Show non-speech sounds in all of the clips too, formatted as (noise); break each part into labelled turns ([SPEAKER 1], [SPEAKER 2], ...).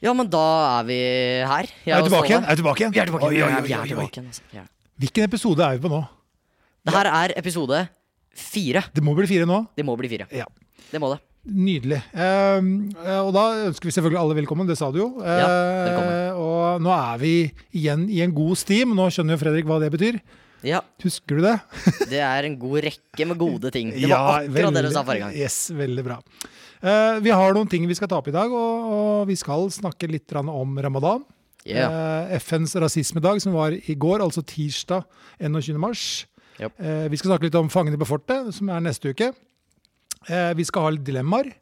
[SPEAKER 1] Ja, men da er vi her. Jeg
[SPEAKER 2] Er vi
[SPEAKER 1] og
[SPEAKER 2] tilbake igjen?
[SPEAKER 1] Ståle.
[SPEAKER 2] Er vi tilbake igjen?
[SPEAKER 1] Vi er tilbake.
[SPEAKER 2] Oi,
[SPEAKER 1] igjen,
[SPEAKER 2] oi,
[SPEAKER 1] vi er
[SPEAKER 2] oi, oi,
[SPEAKER 1] tilbake
[SPEAKER 2] oi.
[SPEAKER 1] igjen, altså. Vi er-
[SPEAKER 2] Hvilken episode er vi på nå?
[SPEAKER 1] Det her er episode fire.
[SPEAKER 2] Det må bli fire nå.
[SPEAKER 1] Det må bli fire.
[SPEAKER 2] Ja.
[SPEAKER 1] Det må det.
[SPEAKER 2] Nydelig. Ehm, eh, og da ønsker vi selvfølgelig alle velkommen, det sa du jo.
[SPEAKER 1] Ja,
[SPEAKER 2] Eh,
[SPEAKER 1] velkommen.
[SPEAKER 2] og nå er vi igjen i en god steam. Nå skjønner jo Fredrik hva det betyr.
[SPEAKER 1] Ja,
[SPEAKER 2] Husker du det?
[SPEAKER 1] det er en god rekke med gode ting. Det
[SPEAKER 2] Ja,
[SPEAKER 1] var akkurat det du
[SPEAKER 2] veldig-
[SPEAKER 1] sa forrige gang.
[SPEAKER 2] Yes, veldig bra. Eh, vi har noen ting vi skal ta opp i dag, og, og vi skal snakke litt grann om ramadan.
[SPEAKER 1] Ja.
[SPEAKER 2] Eh, FNs rasismedag, som var i går, altså tirsdag 21. mars.
[SPEAKER 1] Japp.
[SPEAKER 2] Eh, vi skal snakke litt om Fangene på fortet, som er neste uke. Eh, vi skal ha litt dilemmaer.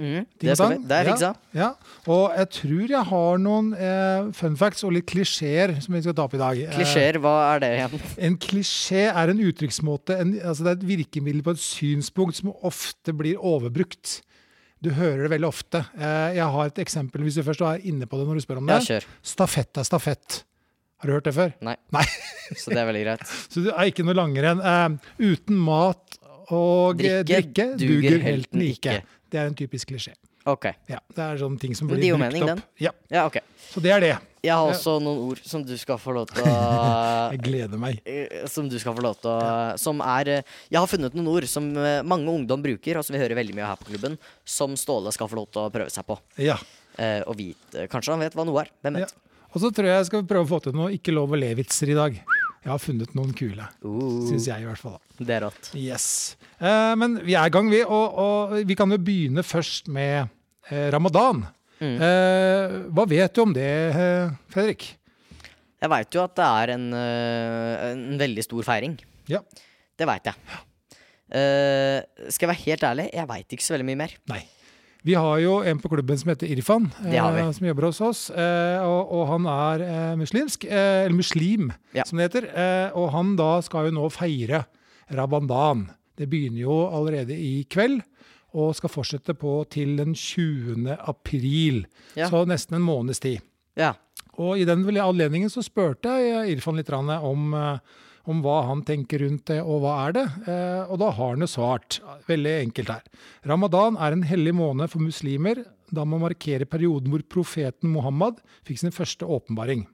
[SPEAKER 1] Mm,
[SPEAKER 2] ting
[SPEAKER 1] det
[SPEAKER 2] og
[SPEAKER 1] skal vi.
[SPEAKER 2] tang.
[SPEAKER 1] Det er fiksa.
[SPEAKER 2] Ja, ja. Og jeg tror jeg har noen eh, fun facts og litt klisjeer som vi skal ta opp i dag. Eh,
[SPEAKER 1] Klisjeer, hva er det igjen?
[SPEAKER 2] en klisjé er en uttrykksmåte, en, altså det er et virkemiddel på et synspunkt som ofte blir overbrukt. Du hører det veldig ofte. Eh, jeg har et eksempel, hvis du først er inne på det når du spør om
[SPEAKER 1] Ja,
[SPEAKER 2] det.
[SPEAKER 1] kjør.
[SPEAKER 2] Stafett er stafett. Har du hørt det før?
[SPEAKER 1] Nei.
[SPEAKER 2] Nei.
[SPEAKER 1] Så det er veldig greit.
[SPEAKER 2] (laughs) Så det er ikke noe langrenn. Eh, uten mat og eh,
[SPEAKER 1] Drikke
[SPEAKER 2] drikke duger, helten ikke. Det er en typisk klisjé.
[SPEAKER 1] Ok.
[SPEAKER 2] Ja, det er sånne ting som
[SPEAKER 1] Men
[SPEAKER 2] blir
[SPEAKER 1] det gir jo
[SPEAKER 2] brukt
[SPEAKER 1] mening,
[SPEAKER 2] opp. Ja,
[SPEAKER 1] Ja, ok.
[SPEAKER 2] så det er det.
[SPEAKER 1] Jeg har også noen ord som du skal få lov til å
[SPEAKER 2] Jeg gleder meg.
[SPEAKER 1] eh, Som du skal få lov til å Som er eh, Jeg har funnet noen ord som eh, mange ungdom bruker, og som vi hører veldig mye her på klubben, som Ståle skal få lov til å prøve seg på.
[SPEAKER 2] Ja.
[SPEAKER 1] Eh, Og vite Kanskje han vet hva noe er. Hvem
[SPEAKER 2] ja.
[SPEAKER 1] vet?
[SPEAKER 2] Og så tror jeg jeg skal prøve å få til noe ikke lov å le-vitser i dag. Jeg har funnet noen kule.
[SPEAKER 1] Uh,
[SPEAKER 2] Syns jeg, i hvert fall. da.
[SPEAKER 1] det er rått.
[SPEAKER 2] Yes. Eh, men vi er i gang, vi. Og, og vi kan jo begynne først med eh, ramadan.
[SPEAKER 1] Mm.
[SPEAKER 2] Eh, hva vet du om det, eh, Fredrik?
[SPEAKER 1] Jeg veit jo at det er en, eh, en veldig stor feiring.
[SPEAKER 2] Ja.
[SPEAKER 1] Det veit jeg. Eh, skal jeg være helt ærlig, jeg veit ikke så veldig mye mer.
[SPEAKER 2] Nei. Vi har jo en på klubben som heter Irfan,
[SPEAKER 1] Det har vi.
[SPEAKER 2] eh, som jobber hos oss. Eh, og, og han er eh, muslimsk, eh, eller muslim,
[SPEAKER 1] Ja.
[SPEAKER 2] som det heter. Eh, og han da skal jo nå feire rabandan. Det begynner jo allerede i kveld. Og skal fortsette på til den 20. april.
[SPEAKER 1] Ja.
[SPEAKER 2] Så nesten en måneds tid.
[SPEAKER 1] Ja.
[SPEAKER 2] Og i den vel- anledningen så spurte jeg Irfan litt grann om, eh, om hva han tenker rundt det, og hva er det? Eh, Og da har han jo svart, veldig enkelt her. Ramadan er en hellig måned for muslimer, da man markerer perioden hvor profeten Muhammad fikk sin første åpenbaring.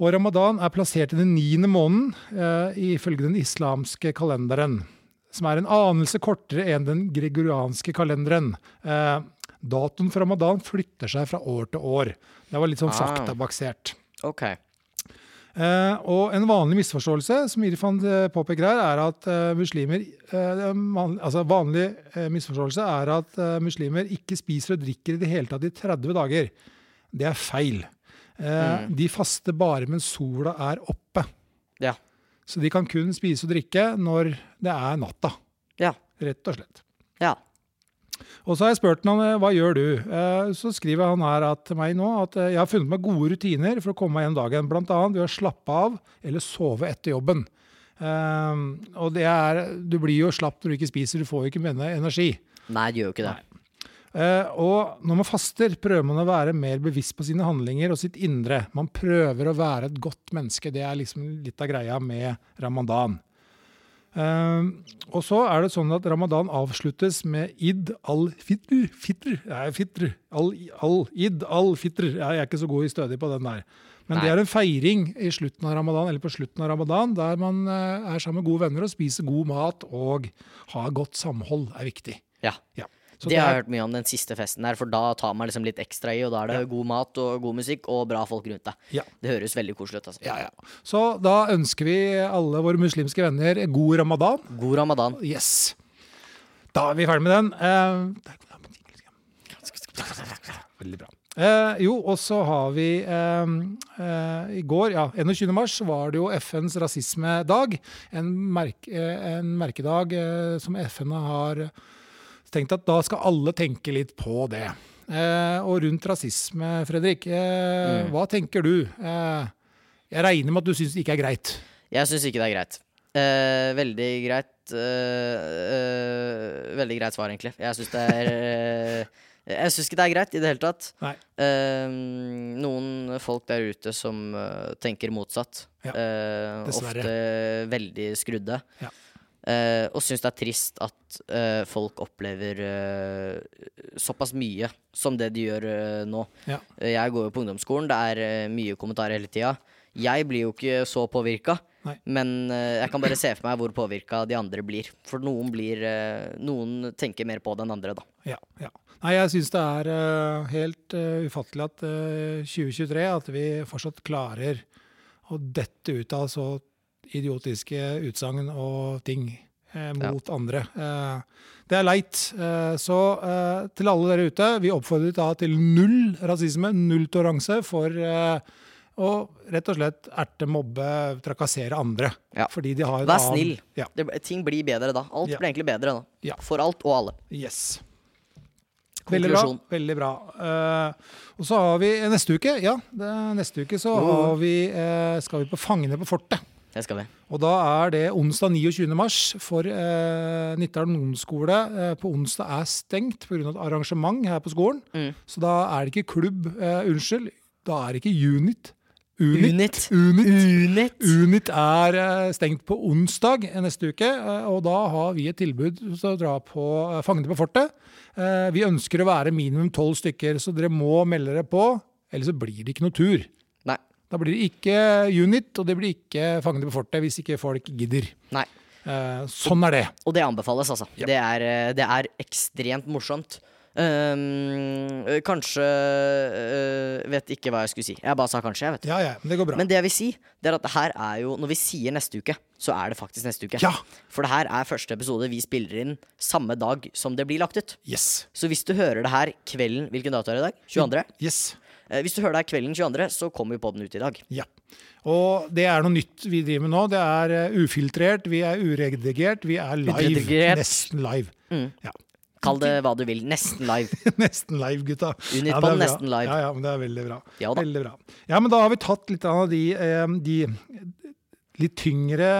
[SPEAKER 2] Og ramadan er plassert i den niende måneden eh, ifølge den islamske kalenderen, som er en anelse kortere enn den gregorianske kalenderen. Eh, datoen for ramadan flytter seg fra år til år. Det var litt sånn
[SPEAKER 1] Ah.
[SPEAKER 2] faktabasert.
[SPEAKER 1] Ok.
[SPEAKER 2] Eh, og en vanlig misforståelse som Irfan eh, påpeker her, er at eh, muslimer eh, man, Altså vanlig eh, misforståelse er at eh, muslimer ikke spiser og drikker i det hele tatt i 30 dager. Det er feil. Eh, De faster bare mens sola er oppe.
[SPEAKER 1] Ja.
[SPEAKER 2] Så de kan kun spise og drikke når det er natta,
[SPEAKER 1] Ja.
[SPEAKER 2] rett og slett.
[SPEAKER 1] Ja.
[SPEAKER 2] Og så har jeg spurt han eh, hva gjør du? Eh, Så skriver han her at, til meg nå at eh, jeg har funnet meg gode rutiner for å komme meg gjennom dagen, bl.a. ved å slappe av eller sove etter jobben. Eh, og det er, du blir jo slapp når du ikke spiser, du får jo ikke med deg energi.
[SPEAKER 1] Nei, det gjør jo ikke det.
[SPEAKER 2] Eh, og når man faster, prøver man å være mer bevisst på sine handlinger og sitt indre. Man prøver å være et godt menneske. Det er liksom litt av greia med ramadan. Eh, og så er det sånn at ramadan avsluttes med id al-fitr. Fitr? Nei, fitr. Al, al, id al-fitr. Jeg er ikke så god i stødig på den der. Men
[SPEAKER 1] Nei.
[SPEAKER 2] det er en feiring i slutten av ramadan, eller på slutten av ramadan der man eh, er sammen med gode venner og spiser god mat og har godt samhold er viktig.
[SPEAKER 1] Ja.
[SPEAKER 2] Ja. Så
[SPEAKER 1] Det har jeg hørt mye om den siste festen her, for da tar man liksom litt ekstra i, og da er det god mat og god musikk og bra folk rundt deg.
[SPEAKER 2] Ja.
[SPEAKER 1] Det høres veldig koselig ut, altså.
[SPEAKER 2] Ja, ja. Så da ønsker vi alle våre muslimske venner god ramadan.
[SPEAKER 1] God ramadan.
[SPEAKER 2] Yes! Da er vi ferdig med den. Eh, Veldig bra. Eh, jo, og så har vi eh, eh, I går, ja, 21. mars, var det jo FNs rasismedag. En, merk, eh, en merkedag eh, som FN har tenkt at da skal alle tenke litt på det. Eh, og rundt rasisme, Fredrik, eh, hva tenker du? Eh, jeg regner med at du syns det ikke er greit.
[SPEAKER 1] Jeg syns ikke det er greit. Eh, veldig greit. eh, eh, veldig greit svar, egentlig. Jeg syns det er eh, Jeg syns ikke det er greit i det hele tatt.
[SPEAKER 2] Nei.
[SPEAKER 1] Eh, noen folk der ute som eh, tenker motsatt.
[SPEAKER 2] Ja,
[SPEAKER 1] Eh,
[SPEAKER 2] dessverre.
[SPEAKER 1] ofte veldig skrudde.
[SPEAKER 2] Ja.
[SPEAKER 1] Eh, eh, og syns det er trist at eh, folk opplever eh, såpass mye som det de gjør eh, nå.
[SPEAKER 2] Ja.
[SPEAKER 1] Eh, Jeg går jo på ungdomsskolen, det er eh, mye kommentarer hele tida. Jeg blir jo ikke så påvirka,
[SPEAKER 2] Nei.
[SPEAKER 1] men eh, jeg kan bare se for meg hvor påvirka de andre blir. For noen blir eh, Noen tenker mer på det enn andre, da.
[SPEAKER 2] Ja, ja. Nei, jeg syns det er eh, helt eh, ufattelig at eh, 2023 at vi fortsatt klarer å dette ut av så idiotiske utsagn og ting eh, mot andre. Eh, det er leit. Eh, så eh, til alle dere ute, vi oppfordrer da til null rasisme, null toleranse for eh, å rett og slett erte, mobbe, trakassere andre.
[SPEAKER 1] Ja.
[SPEAKER 2] Fordi de har en
[SPEAKER 1] Vær
[SPEAKER 2] annen-
[SPEAKER 1] snill.
[SPEAKER 2] Ja.
[SPEAKER 1] Det, ting blir bedre da. Alt
[SPEAKER 2] Ja.
[SPEAKER 1] blir egentlig bedre da.
[SPEAKER 2] Ja.
[SPEAKER 1] For alt og alle.
[SPEAKER 2] Yes. Veldig bra.
[SPEAKER 1] Konklusjon.
[SPEAKER 2] veldig bra. Eh, og så har vi neste uke ja, det, er neste uke så har vi, eh, skal vi på Fangene på fortet.
[SPEAKER 1] Det skal vi.
[SPEAKER 2] Og da er det onsdag 29. mars for eh, Nittedal ungdomsskole. Eh, på onsdag er stengt pga. et arrangement her på skolen.
[SPEAKER 1] Mm.
[SPEAKER 2] Så da er det ikke klubb, eh, unnskyld, da er det ikke Unit. Unit.
[SPEAKER 1] Unit.
[SPEAKER 2] Unit.
[SPEAKER 1] Unit.
[SPEAKER 2] Unit er eh, stengt på onsdag neste uke, eh, og da har vi et tilbud til å dra på eh, Fangene på fortet. Eh, Vi ønsker å være minimum tolv stykker, så dere må melde dere på. Ellers så blir det ikke noe tur.
[SPEAKER 1] Nei.
[SPEAKER 2] Da blir det ikke Unit, og det blir ikke Fangene på fortet hvis ikke folk gidder.
[SPEAKER 1] Nei.
[SPEAKER 2] Eh, Sånn er det.
[SPEAKER 1] Og det anbefales, altså. Det, er, eh, det er ekstremt morsomt. Ehm, øh, kanskje øh, Vet ikke hva jeg skulle si. Jeg bare sa kanskje, jeg, vet du.
[SPEAKER 2] Ja, ja, men det går bra.
[SPEAKER 1] Men det jeg vil si, det er at det her er jo Når vi sier neste uke, så er det faktisk neste uke.
[SPEAKER 2] Ja.
[SPEAKER 1] For det her er første episode vi spiller inn samme dag som det blir lagt ut.
[SPEAKER 2] Yes.
[SPEAKER 1] Så hvis du hører det her kvelden Hvilken dato er det i dag? 22.?
[SPEAKER 2] Yes.
[SPEAKER 1] Eh, Hvis du hører det her kvelden 22., så kommer jo podden ut i dag.
[SPEAKER 2] Ja. Og det er noe nytt vi driver med nå. Det er eh, ufiltrert, vi er uredigert, vi er live.
[SPEAKER 1] Uredigert.
[SPEAKER 2] Nesten live. (laughs) Ja.
[SPEAKER 1] Kall det hva du vil. Nesten live.
[SPEAKER 2] (laughs) nesten live, gutta.
[SPEAKER 1] Unit
[SPEAKER 2] det er
[SPEAKER 1] på den
[SPEAKER 2] bra.
[SPEAKER 1] nesten live.
[SPEAKER 2] Ja, ja, men det er veldig bra.
[SPEAKER 1] Ja da.
[SPEAKER 2] veldig bra. Ja, men da har vi tatt litt av de, eh, de litt tyngre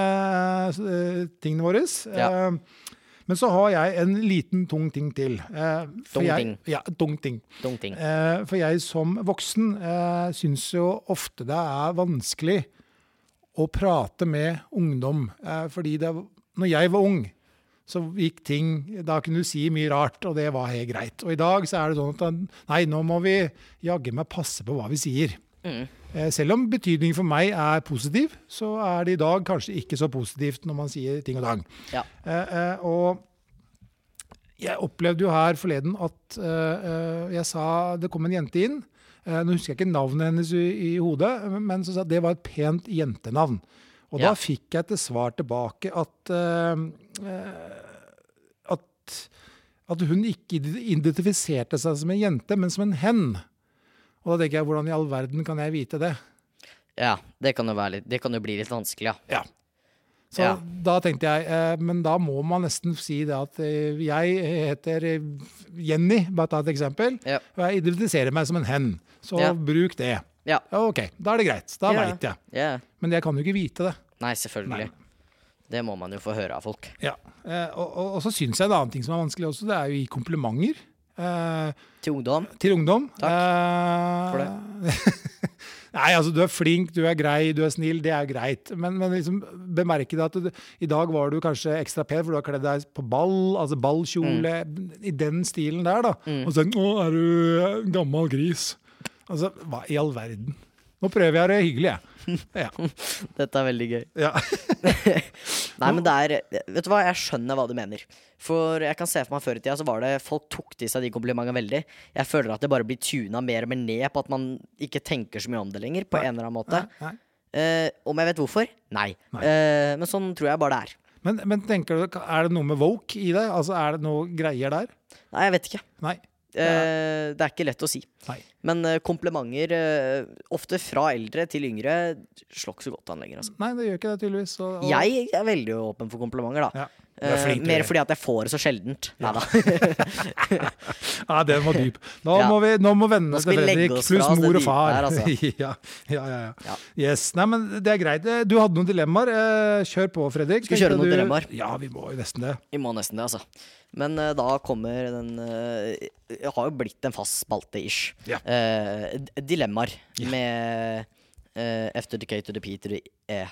[SPEAKER 2] eh, tingene våre.
[SPEAKER 1] Ja.
[SPEAKER 2] Eh, Men så har jeg en liten tung ting til. Eh, for
[SPEAKER 1] Tung
[SPEAKER 2] jeg,
[SPEAKER 1] ting.
[SPEAKER 2] Ja, tung ting.
[SPEAKER 1] Tung ting.
[SPEAKER 2] Eh, For jeg som voksen eh, syns jo ofte det er vanskelig å prate med ungdom. Eh, fordi det, når jeg var ung, så gikk ting Da kunne du si mye rart, og det var helt greit. Og i dag så er det sånn at nei, nå må vi jaggu meg passe på hva vi sier. Eh, Selv om betydningen for meg er positiv, så er det i dag kanskje ikke så positivt når man sier ting og tang.
[SPEAKER 1] Ja.
[SPEAKER 2] Eh, eh, og jeg opplevde jo her forleden at eh, eh, jeg sa det kom en jente inn. Eh, nå husker jeg ikke navnet hennes i, i hodet, men så sa jeg at det var et pent jentenavn. Og
[SPEAKER 1] Ja.
[SPEAKER 2] da fikk jeg til svar tilbake at, eh, eh, at at hun ikke identifiserte seg som en jente, men som en hen. Og da tenker jeg, hvordan i all verden kan jeg vite det?
[SPEAKER 1] Ja, det kan jo, være litt, det kan jo bli litt vanskelig, ja.
[SPEAKER 2] Ja. Så
[SPEAKER 1] Ja.
[SPEAKER 2] da tenkte jeg, eh, men da må man nesten si det at eh, jeg heter eh, Jenny, bare ta et eksempel,
[SPEAKER 1] Ja.
[SPEAKER 2] og jeg identifiserer meg som en hen. Så
[SPEAKER 1] Ja.
[SPEAKER 2] bruk det.
[SPEAKER 1] Ja.
[SPEAKER 2] Ja, Ok, da er det greit. Da
[SPEAKER 1] Ja.
[SPEAKER 2] veit jeg.
[SPEAKER 1] ja.
[SPEAKER 2] Men jeg kan jo ikke vite det.
[SPEAKER 1] Nei, selvfølgelig.
[SPEAKER 2] Nei.
[SPEAKER 1] Det må man jo få høre av folk.
[SPEAKER 2] Ja. Eh, og, og, og så syns jeg en annen ting som er vanskelig også, det er jo å gi komplimenter eh,
[SPEAKER 1] Til ungdom.
[SPEAKER 2] til ungdom.
[SPEAKER 1] Takk
[SPEAKER 2] Eh,
[SPEAKER 1] for
[SPEAKER 2] (laughs) Nei, altså du er flink, du er grei, du er snill, det er greit. Men, men liksom bemerke det at du, i dag var du kanskje ekstra pen, for du har kledd deg på ball, altså ballkjole, i den stilen der, da.
[SPEAKER 1] Mm.
[SPEAKER 2] Og så Å, er du en gammel gris? Altså, hva i all verden? Nå prøver jeg å være hyggelig,
[SPEAKER 1] (laughs)
[SPEAKER 2] jeg. Ja.
[SPEAKER 1] Dette er veldig gøy.
[SPEAKER 2] ja.
[SPEAKER 1] Nei, men det er Vet du hva, jeg skjønner hva du mener. For jeg kan se for meg før i tida så var det folk tok til seg de komplimentene veldig. Jeg føler at det bare blir tuna mer og mer ned på at man ikke tenker så mye om det lenger. På en eller annen måte.
[SPEAKER 2] Nei.
[SPEAKER 1] Eh, om jeg vet hvorfor? Nei. Eh, men sånn tror jeg bare det er.
[SPEAKER 2] Men, men tenker du, er det noe med woke i det? Altså, er det noe greier der?
[SPEAKER 1] Nei, jeg vet ikke.
[SPEAKER 2] Nei.
[SPEAKER 1] Eh, det er ikke lett å si.
[SPEAKER 2] Nei.
[SPEAKER 1] Men eh, komplimenter, eh, ofte fra eldre til yngre, slår ikke så godt an lenger. Altså.
[SPEAKER 2] Nei, det gjør ikke det, tydeligvis. Så, og,
[SPEAKER 1] Jeg er veldig åpen for komplimenter, da.
[SPEAKER 2] Ja. Du er flink,
[SPEAKER 1] Eh,
[SPEAKER 2] du.
[SPEAKER 1] mer fordi at jeg får det så sjeldent. Neida. (laughs)
[SPEAKER 2] Ja, den var dyp. Nå
[SPEAKER 1] Ja.
[SPEAKER 2] må, vi, nå må vennene
[SPEAKER 1] Nå skal
[SPEAKER 2] til
[SPEAKER 1] vi legge
[SPEAKER 2] Fredrik
[SPEAKER 1] oss fra
[SPEAKER 2] pluss
[SPEAKER 1] oss det
[SPEAKER 2] mor og
[SPEAKER 1] dype
[SPEAKER 2] far.
[SPEAKER 1] her, altså.
[SPEAKER 2] (laughs) ja, ja, ja, ja.
[SPEAKER 1] Ja.
[SPEAKER 2] Yes. Nei, men det er greit. Du hadde noen dilemmaer. Eh, Kjør på, Fredrik.
[SPEAKER 1] Skal vi kjøre
[SPEAKER 2] Tenkte
[SPEAKER 1] noen
[SPEAKER 2] du-
[SPEAKER 1] dilemmaer?
[SPEAKER 2] Ja, vi må jo nesten det.
[SPEAKER 1] Vi må nesten det, altså. Men eh, da kommer den eh, Det har jo blitt en fast spalte, ish.
[SPEAKER 2] Ja.
[SPEAKER 1] Eh, d- dilemmaer med eh, F to the K to the P to the E.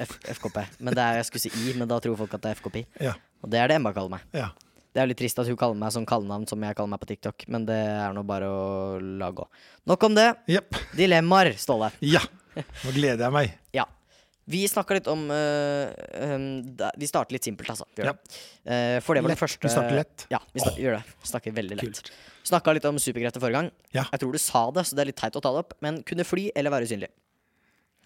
[SPEAKER 1] F FKP. Men det er, jeg skulle si I, men da tror folk at det er FKP.
[SPEAKER 2] Ja.
[SPEAKER 1] Og det er det Emma kaller meg.
[SPEAKER 2] ja.
[SPEAKER 1] Det er jo litt trist at hun kaller meg sånn kallenavn som jeg kaller meg på TikTok, men det er nå bare å la gå. Nok om det.
[SPEAKER 2] Jepp.
[SPEAKER 1] Dilemmaer, Ståle.
[SPEAKER 2] Ja. Nå gleder jeg meg.
[SPEAKER 1] Ja. Vi snakker litt om øh, øhm, da- Vi starter litt simpelt, altså. Vi gjør
[SPEAKER 2] Ja.
[SPEAKER 1] det. Eh, for det var
[SPEAKER 2] Lett.
[SPEAKER 1] det første
[SPEAKER 2] Vi starter lett.
[SPEAKER 1] Ja, vi snak- gjør det. Snakker veldig lett.
[SPEAKER 2] Kult.
[SPEAKER 1] Snakka litt om superkrefter forrige gang.
[SPEAKER 2] Ja.
[SPEAKER 1] Jeg tror du sa det, så det er litt teit å ta det opp. Men kunne fly eller være usynlig?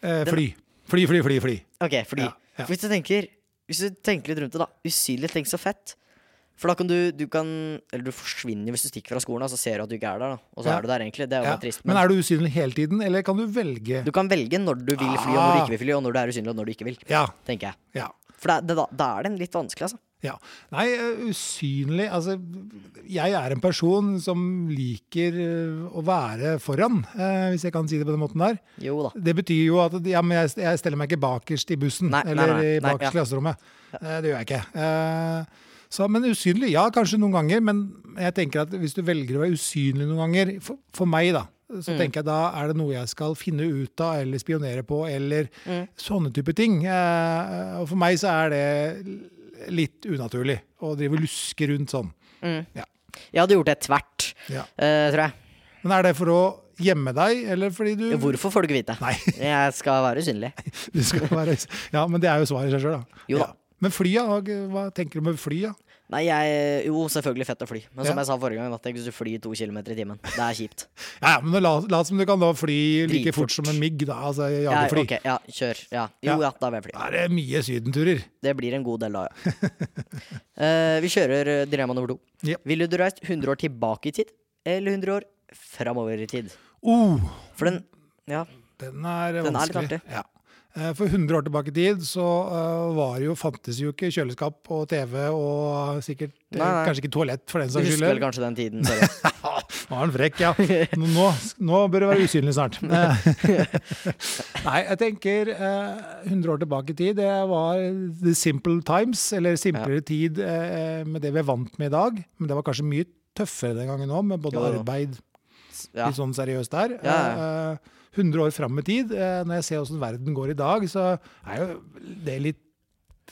[SPEAKER 2] Eh, fly. Fly, fly, fly, fly.
[SPEAKER 1] Ok, fordi
[SPEAKER 2] Ja, ja.
[SPEAKER 1] for Hvis du tenker Hvis du tenker litt rundt det, da. Usynlig tenk så fett. For da kan du, du kan Eller du forsvinner jo hvis du stikker fra skolen, og så ser du at du ikke er der, da. Og så
[SPEAKER 2] Ja.
[SPEAKER 1] er du der, egentlig. Det er jo
[SPEAKER 2] Ja.
[SPEAKER 1] bare trist.
[SPEAKER 2] Men
[SPEAKER 1] Men
[SPEAKER 2] er du usynlig hele tiden, eller kan du velge?
[SPEAKER 1] du kan velge når du vil fly, og når du
[SPEAKER 2] Ah.
[SPEAKER 1] ikke vil fly, og når du er usynlig, og når du ikke vil.
[SPEAKER 2] Ja.
[SPEAKER 1] Tenker jeg.
[SPEAKER 2] Ja.
[SPEAKER 1] For da, da, da er den litt vanskelig, altså.
[SPEAKER 2] Ja. Nei, eh, usynlig Altså, jeg er en person som liker eh, å være foran, eh, hvis jeg kan si det på den måten der.
[SPEAKER 1] Jo da.
[SPEAKER 2] Det betyr jo at ja, men jeg, jeg steller meg ikke bakerst i bussen
[SPEAKER 1] Nei, nei,
[SPEAKER 2] eller
[SPEAKER 1] nei,
[SPEAKER 2] i
[SPEAKER 1] nei,
[SPEAKER 2] bakerst i
[SPEAKER 1] ja.
[SPEAKER 2] klasserommet. Eh, Det gjør jeg ikke. Eh, Så, men usynlig, ja, kanskje noen ganger. Men jeg tenker at hvis du velger å være usynlig noen ganger, for, for meg da, så
[SPEAKER 1] Mm.
[SPEAKER 2] tenker jeg da er det noe jeg skal finne ut av eller spionere på, eller
[SPEAKER 1] Mm.
[SPEAKER 2] sånne type ting. Eh, Og for meg så er det l- litt unaturlig å drive og luske rundt sånn. Ja.
[SPEAKER 1] Jeg hadde gjort det tvert,
[SPEAKER 2] Ja.
[SPEAKER 1] eh, tror jeg.
[SPEAKER 2] Men er det for å gjemme deg, eller fordi du
[SPEAKER 1] Hvorfor får du ikke vite?
[SPEAKER 2] Mm. Nei.
[SPEAKER 1] (laughs) Jeg skal være usynlig.
[SPEAKER 2] (laughs) Du skal være Ja, men det er jo svaret i seg sjøl, da.
[SPEAKER 1] Jo da.
[SPEAKER 2] Ja. Men flya, hva- hva tenker du med flya?
[SPEAKER 1] Nei, jeg Jo, selvfølgelig fett å fly. Men som
[SPEAKER 2] Ja.
[SPEAKER 1] jeg sa forrige gang, at hvis du flyr to kilometer i timen, det er kjipt.
[SPEAKER 2] Ja, ja, men nå la, la som du kan da fly like
[SPEAKER 1] Dritfort.
[SPEAKER 2] fort som en migg, (laughs) da. Altså
[SPEAKER 1] Ja,
[SPEAKER 2] jagerfly.
[SPEAKER 1] ok, ja, kjør. Ja. Jo ja, da vil jeg fly.
[SPEAKER 2] Da er det mye sydenturer.
[SPEAKER 1] Det blir en god del da, ja. (laughs) Eh, vi kjører eh, dilemma nummer to.
[SPEAKER 2] Ja.
[SPEAKER 1] Ville du reist 100 år tilbake i tid, eller 100 år framover i tid?
[SPEAKER 2] Oh,
[SPEAKER 1] For den Ja.
[SPEAKER 2] den er
[SPEAKER 1] Den er litt
[SPEAKER 2] vanskelig.
[SPEAKER 1] artig.
[SPEAKER 2] ja. Eh, For 100 år tilbake i tid så eh, var det jo, fantes jo ikke kjøleskap og TV og sikkert eh,
[SPEAKER 1] Nei, nei.
[SPEAKER 2] kanskje ikke toalett for den
[SPEAKER 1] Du
[SPEAKER 2] saks
[SPEAKER 1] husker vel
[SPEAKER 2] skyld.
[SPEAKER 1] kanskje den tiden? Sorry.
[SPEAKER 2] (laughs) Ah, Nå er han frekk, ja. Nå, nå, nå bør det være usynlig
[SPEAKER 1] (laughs)
[SPEAKER 2] snart. Eh, Nei, jeg tenker eh, 100 år tilbake i tid, det var the simple times, eller simplere tid eh, med det vi er vant med i dag. Men det var kanskje mye tøffere den gangen òg, med
[SPEAKER 1] Jo,
[SPEAKER 2] både
[SPEAKER 1] jo.
[SPEAKER 2] arbeid
[SPEAKER 1] Ja.
[SPEAKER 2] litt sånn seriøst der.
[SPEAKER 1] Ja, ja.
[SPEAKER 2] Eh, 100 år fram i tid, eh, når jeg ser åssen verden går i dag, så er jo det litt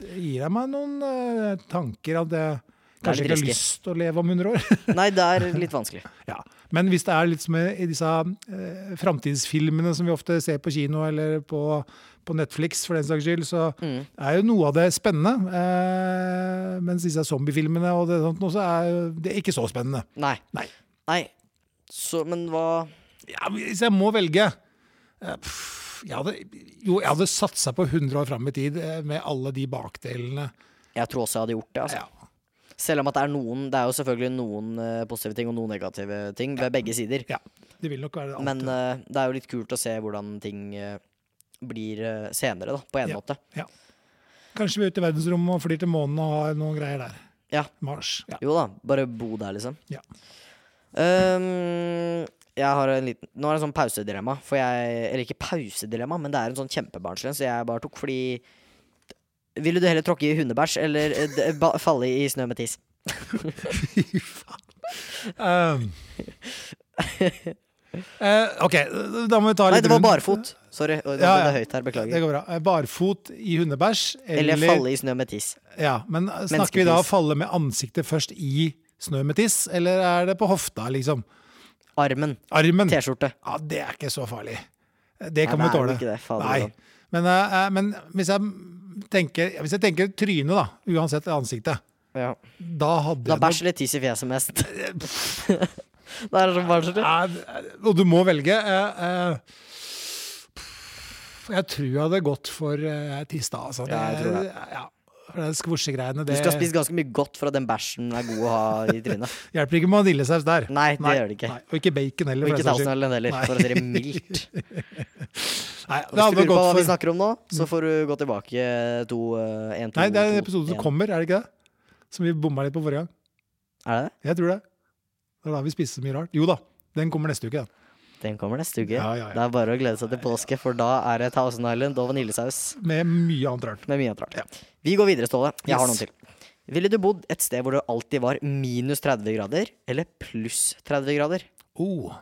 [SPEAKER 2] Gir jeg meg noen eh, tanker at jeg
[SPEAKER 1] Det er
[SPEAKER 2] kanskje
[SPEAKER 1] litt
[SPEAKER 2] ikke har
[SPEAKER 1] risky.
[SPEAKER 2] lyst til å leve om 100 år?
[SPEAKER 1] Nei, det er litt vanskelig.
[SPEAKER 2] Ja, Men hvis det er litt som i disse eh, framtidsfilmene som vi ofte ser på kino eller på, på Netflix, for den saks skyld, så
[SPEAKER 1] Mm.
[SPEAKER 2] er jo noe av det spennende. Eh, mens disse zombiefilmene og det sånt noe, så er jo det ikke så spennende.
[SPEAKER 1] Nei.
[SPEAKER 2] Nei.
[SPEAKER 1] Nei. Så, men hva
[SPEAKER 2] Ja, men hvis jeg må velge eh, pff, jeg hadde, Jo, jeg hadde satsa på 100 år fram i tid eh, med alle de bakdelene.
[SPEAKER 1] Jeg tror også jeg hadde gjort det. Altså.
[SPEAKER 2] Ja.
[SPEAKER 1] Selv om at det er noen Det er jo selvfølgelig noen eh, positive ting og noen negative ting ved begge sider.
[SPEAKER 2] ja. Det vil nok være det.
[SPEAKER 1] Men
[SPEAKER 2] alltid.
[SPEAKER 1] eh, det er jo litt kult å se hvordan ting eh, blir eh, senere, da, på en måte.
[SPEAKER 2] Kanskje vi er ute i verdensrommet og flyr til månen og har noen greier der.
[SPEAKER 1] Ja.
[SPEAKER 2] Mars. Ja.
[SPEAKER 1] Jo da, bare bo der, liksom.
[SPEAKER 2] Ja.
[SPEAKER 1] Ehm, jeg har en liten Nå er det en sånn pausedilemma. For jeg, eller ikke pausedilemma, men det er en sånn kjempebarnslig en, så jeg bare tok fordi Ville du heller tråkke i hundebæsj eller eh, d- ba, falle i snø med tiss?
[SPEAKER 2] Fy faen. Ehm. Eh, OK, da må vi ta
[SPEAKER 1] Nei,
[SPEAKER 2] litt
[SPEAKER 1] det var
[SPEAKER 2] rundt.
[SPEAKER 1] barfot. Sorry, oi, nå
[SPEAKER 2] Ja,
[SPEAKER 1] ble det
[SPEAKER 2] ja.
[SPEAKER 1] høyt her.
[SPEAKER 2] Det
[SPEAKER 1] Beklager.
[SPEAKER 2] går bra. Eh, Barfot i hundebæsj, eller,
[SPEAKER 1] Eller falle i snø med tiss.
[SPEAKER 2] Ja, men snakker vi da falle med ansiktet først i snø med tiss, eller er det på hofta, liksom?
[SPEAKER 1] Armen.
[SPEAKER 2] Armen?
[SPEAKER 1] T-skjorte.
[SPEAKER 2] Ja, det er ikke så farlig.
[SPEAKER 1] Nei,
[SPEAKER 2] Det kan
[SPEAKER 1] det
[SPEAKER 2] man
[SPEAKER 1] er jo
[SPEAKER 2] tåle.
[SPEAKER 1] ikke det, fader,
[SPEAKER 2] Nei.
[SPEAKER 1] da.
[SPEAKER 2] Men, eh, men hvis jeg tenker, hvis jeg tenker trynet, da, uansett ansiktet,
[SPEAKER 1] Ja.
[SPEAKER 2] da hadde
[SPEAKER 1] Da
[SPEAKER 2] jeg
[SPEAKER 1] bæsj eller tiss i fjeset
[SPEAKER 2] (laughs)
[SPEAKER 1] mest. det er sånn barnslig.
[SPEAKER 2] Ja, Og du må velge. eh, eh, Jeg tror jeg hadde gått for eh, tiss da, altså.
[SPEAKER 1] Ja, jeg tror det.
[SPEAKER 2] Ja, for det skvorsegreiene,
[SPEAKER 1] Du
[SPEAKER 2] det
[SPEAKER 1] skal spise ganske mye godt for at den bæsjen er god å ha i trynet.
[SPEAKER 2] hjelper ikke med vaniljesaus der.
[SPEAKER 1] Nei, det gjør det ikke.
[SPEAKER 2] Nei, og ikke bacon heller.
[SPEAKER 1] Og
[SPEAKER 2] for
[SPEAKER 1] ikke
[SPEAKER 2] den saks skyld.
[SPEAKER 1] Thousand heller,
[SPEAKER 2] Nei.
[SPEAKER 1] for å si det
[SPEAKER 2] (laughs)
[SPEAKER 1] mildt.
[SPEAKER 2] Nei,
[SPEAKER 1] Hvis
[SPEAKER 2] det
[SPEAKER 1] du
[SPEAKER 2] hadde
[SPEAKER 1] lurer på hva
[SPEAKER 2] gått
[SPEAKER 1] vi
[SPEAKER 2] for Mm.
[SPEAKER 1] snakker om nå, så får du gå tilbake to, eh, en, to,
[SPEAKER 2] Nei, det er en
[SPEAKER 1] to,
[SPEAKER 2] episode som
[SPEAKER 1] en.
[SPEAKER 2] kommer, er det ikke det? Som vi bomma litt på forrige gang.
[SPEAKER 1] Er det det?
[SPEAKER 2] Jeg tror det. Det er da vi spiste så mye rart. Jo da, den kommer neste uke, den.
[SPEAKER 1] Den kommer neste uke.
[SPEAKER 2] Ja, ja, ja.
[SPEAKER 1] Det er bare å glede seg til påske, for da er det Thousand Island og vaniljesaus
[SPEAKER 2] Med mye annet rart.
[SPEAKER 1] med mye annet rart. Vi går videre, Ståle. Jeg har
[SPEAKER 2] Yes.
[SPEAKER 1] noen til. Ville du bodd et sted hvor det alltid var minus 30 grader, eller pluss 30 grader?
[SPEAKER 2] Oh.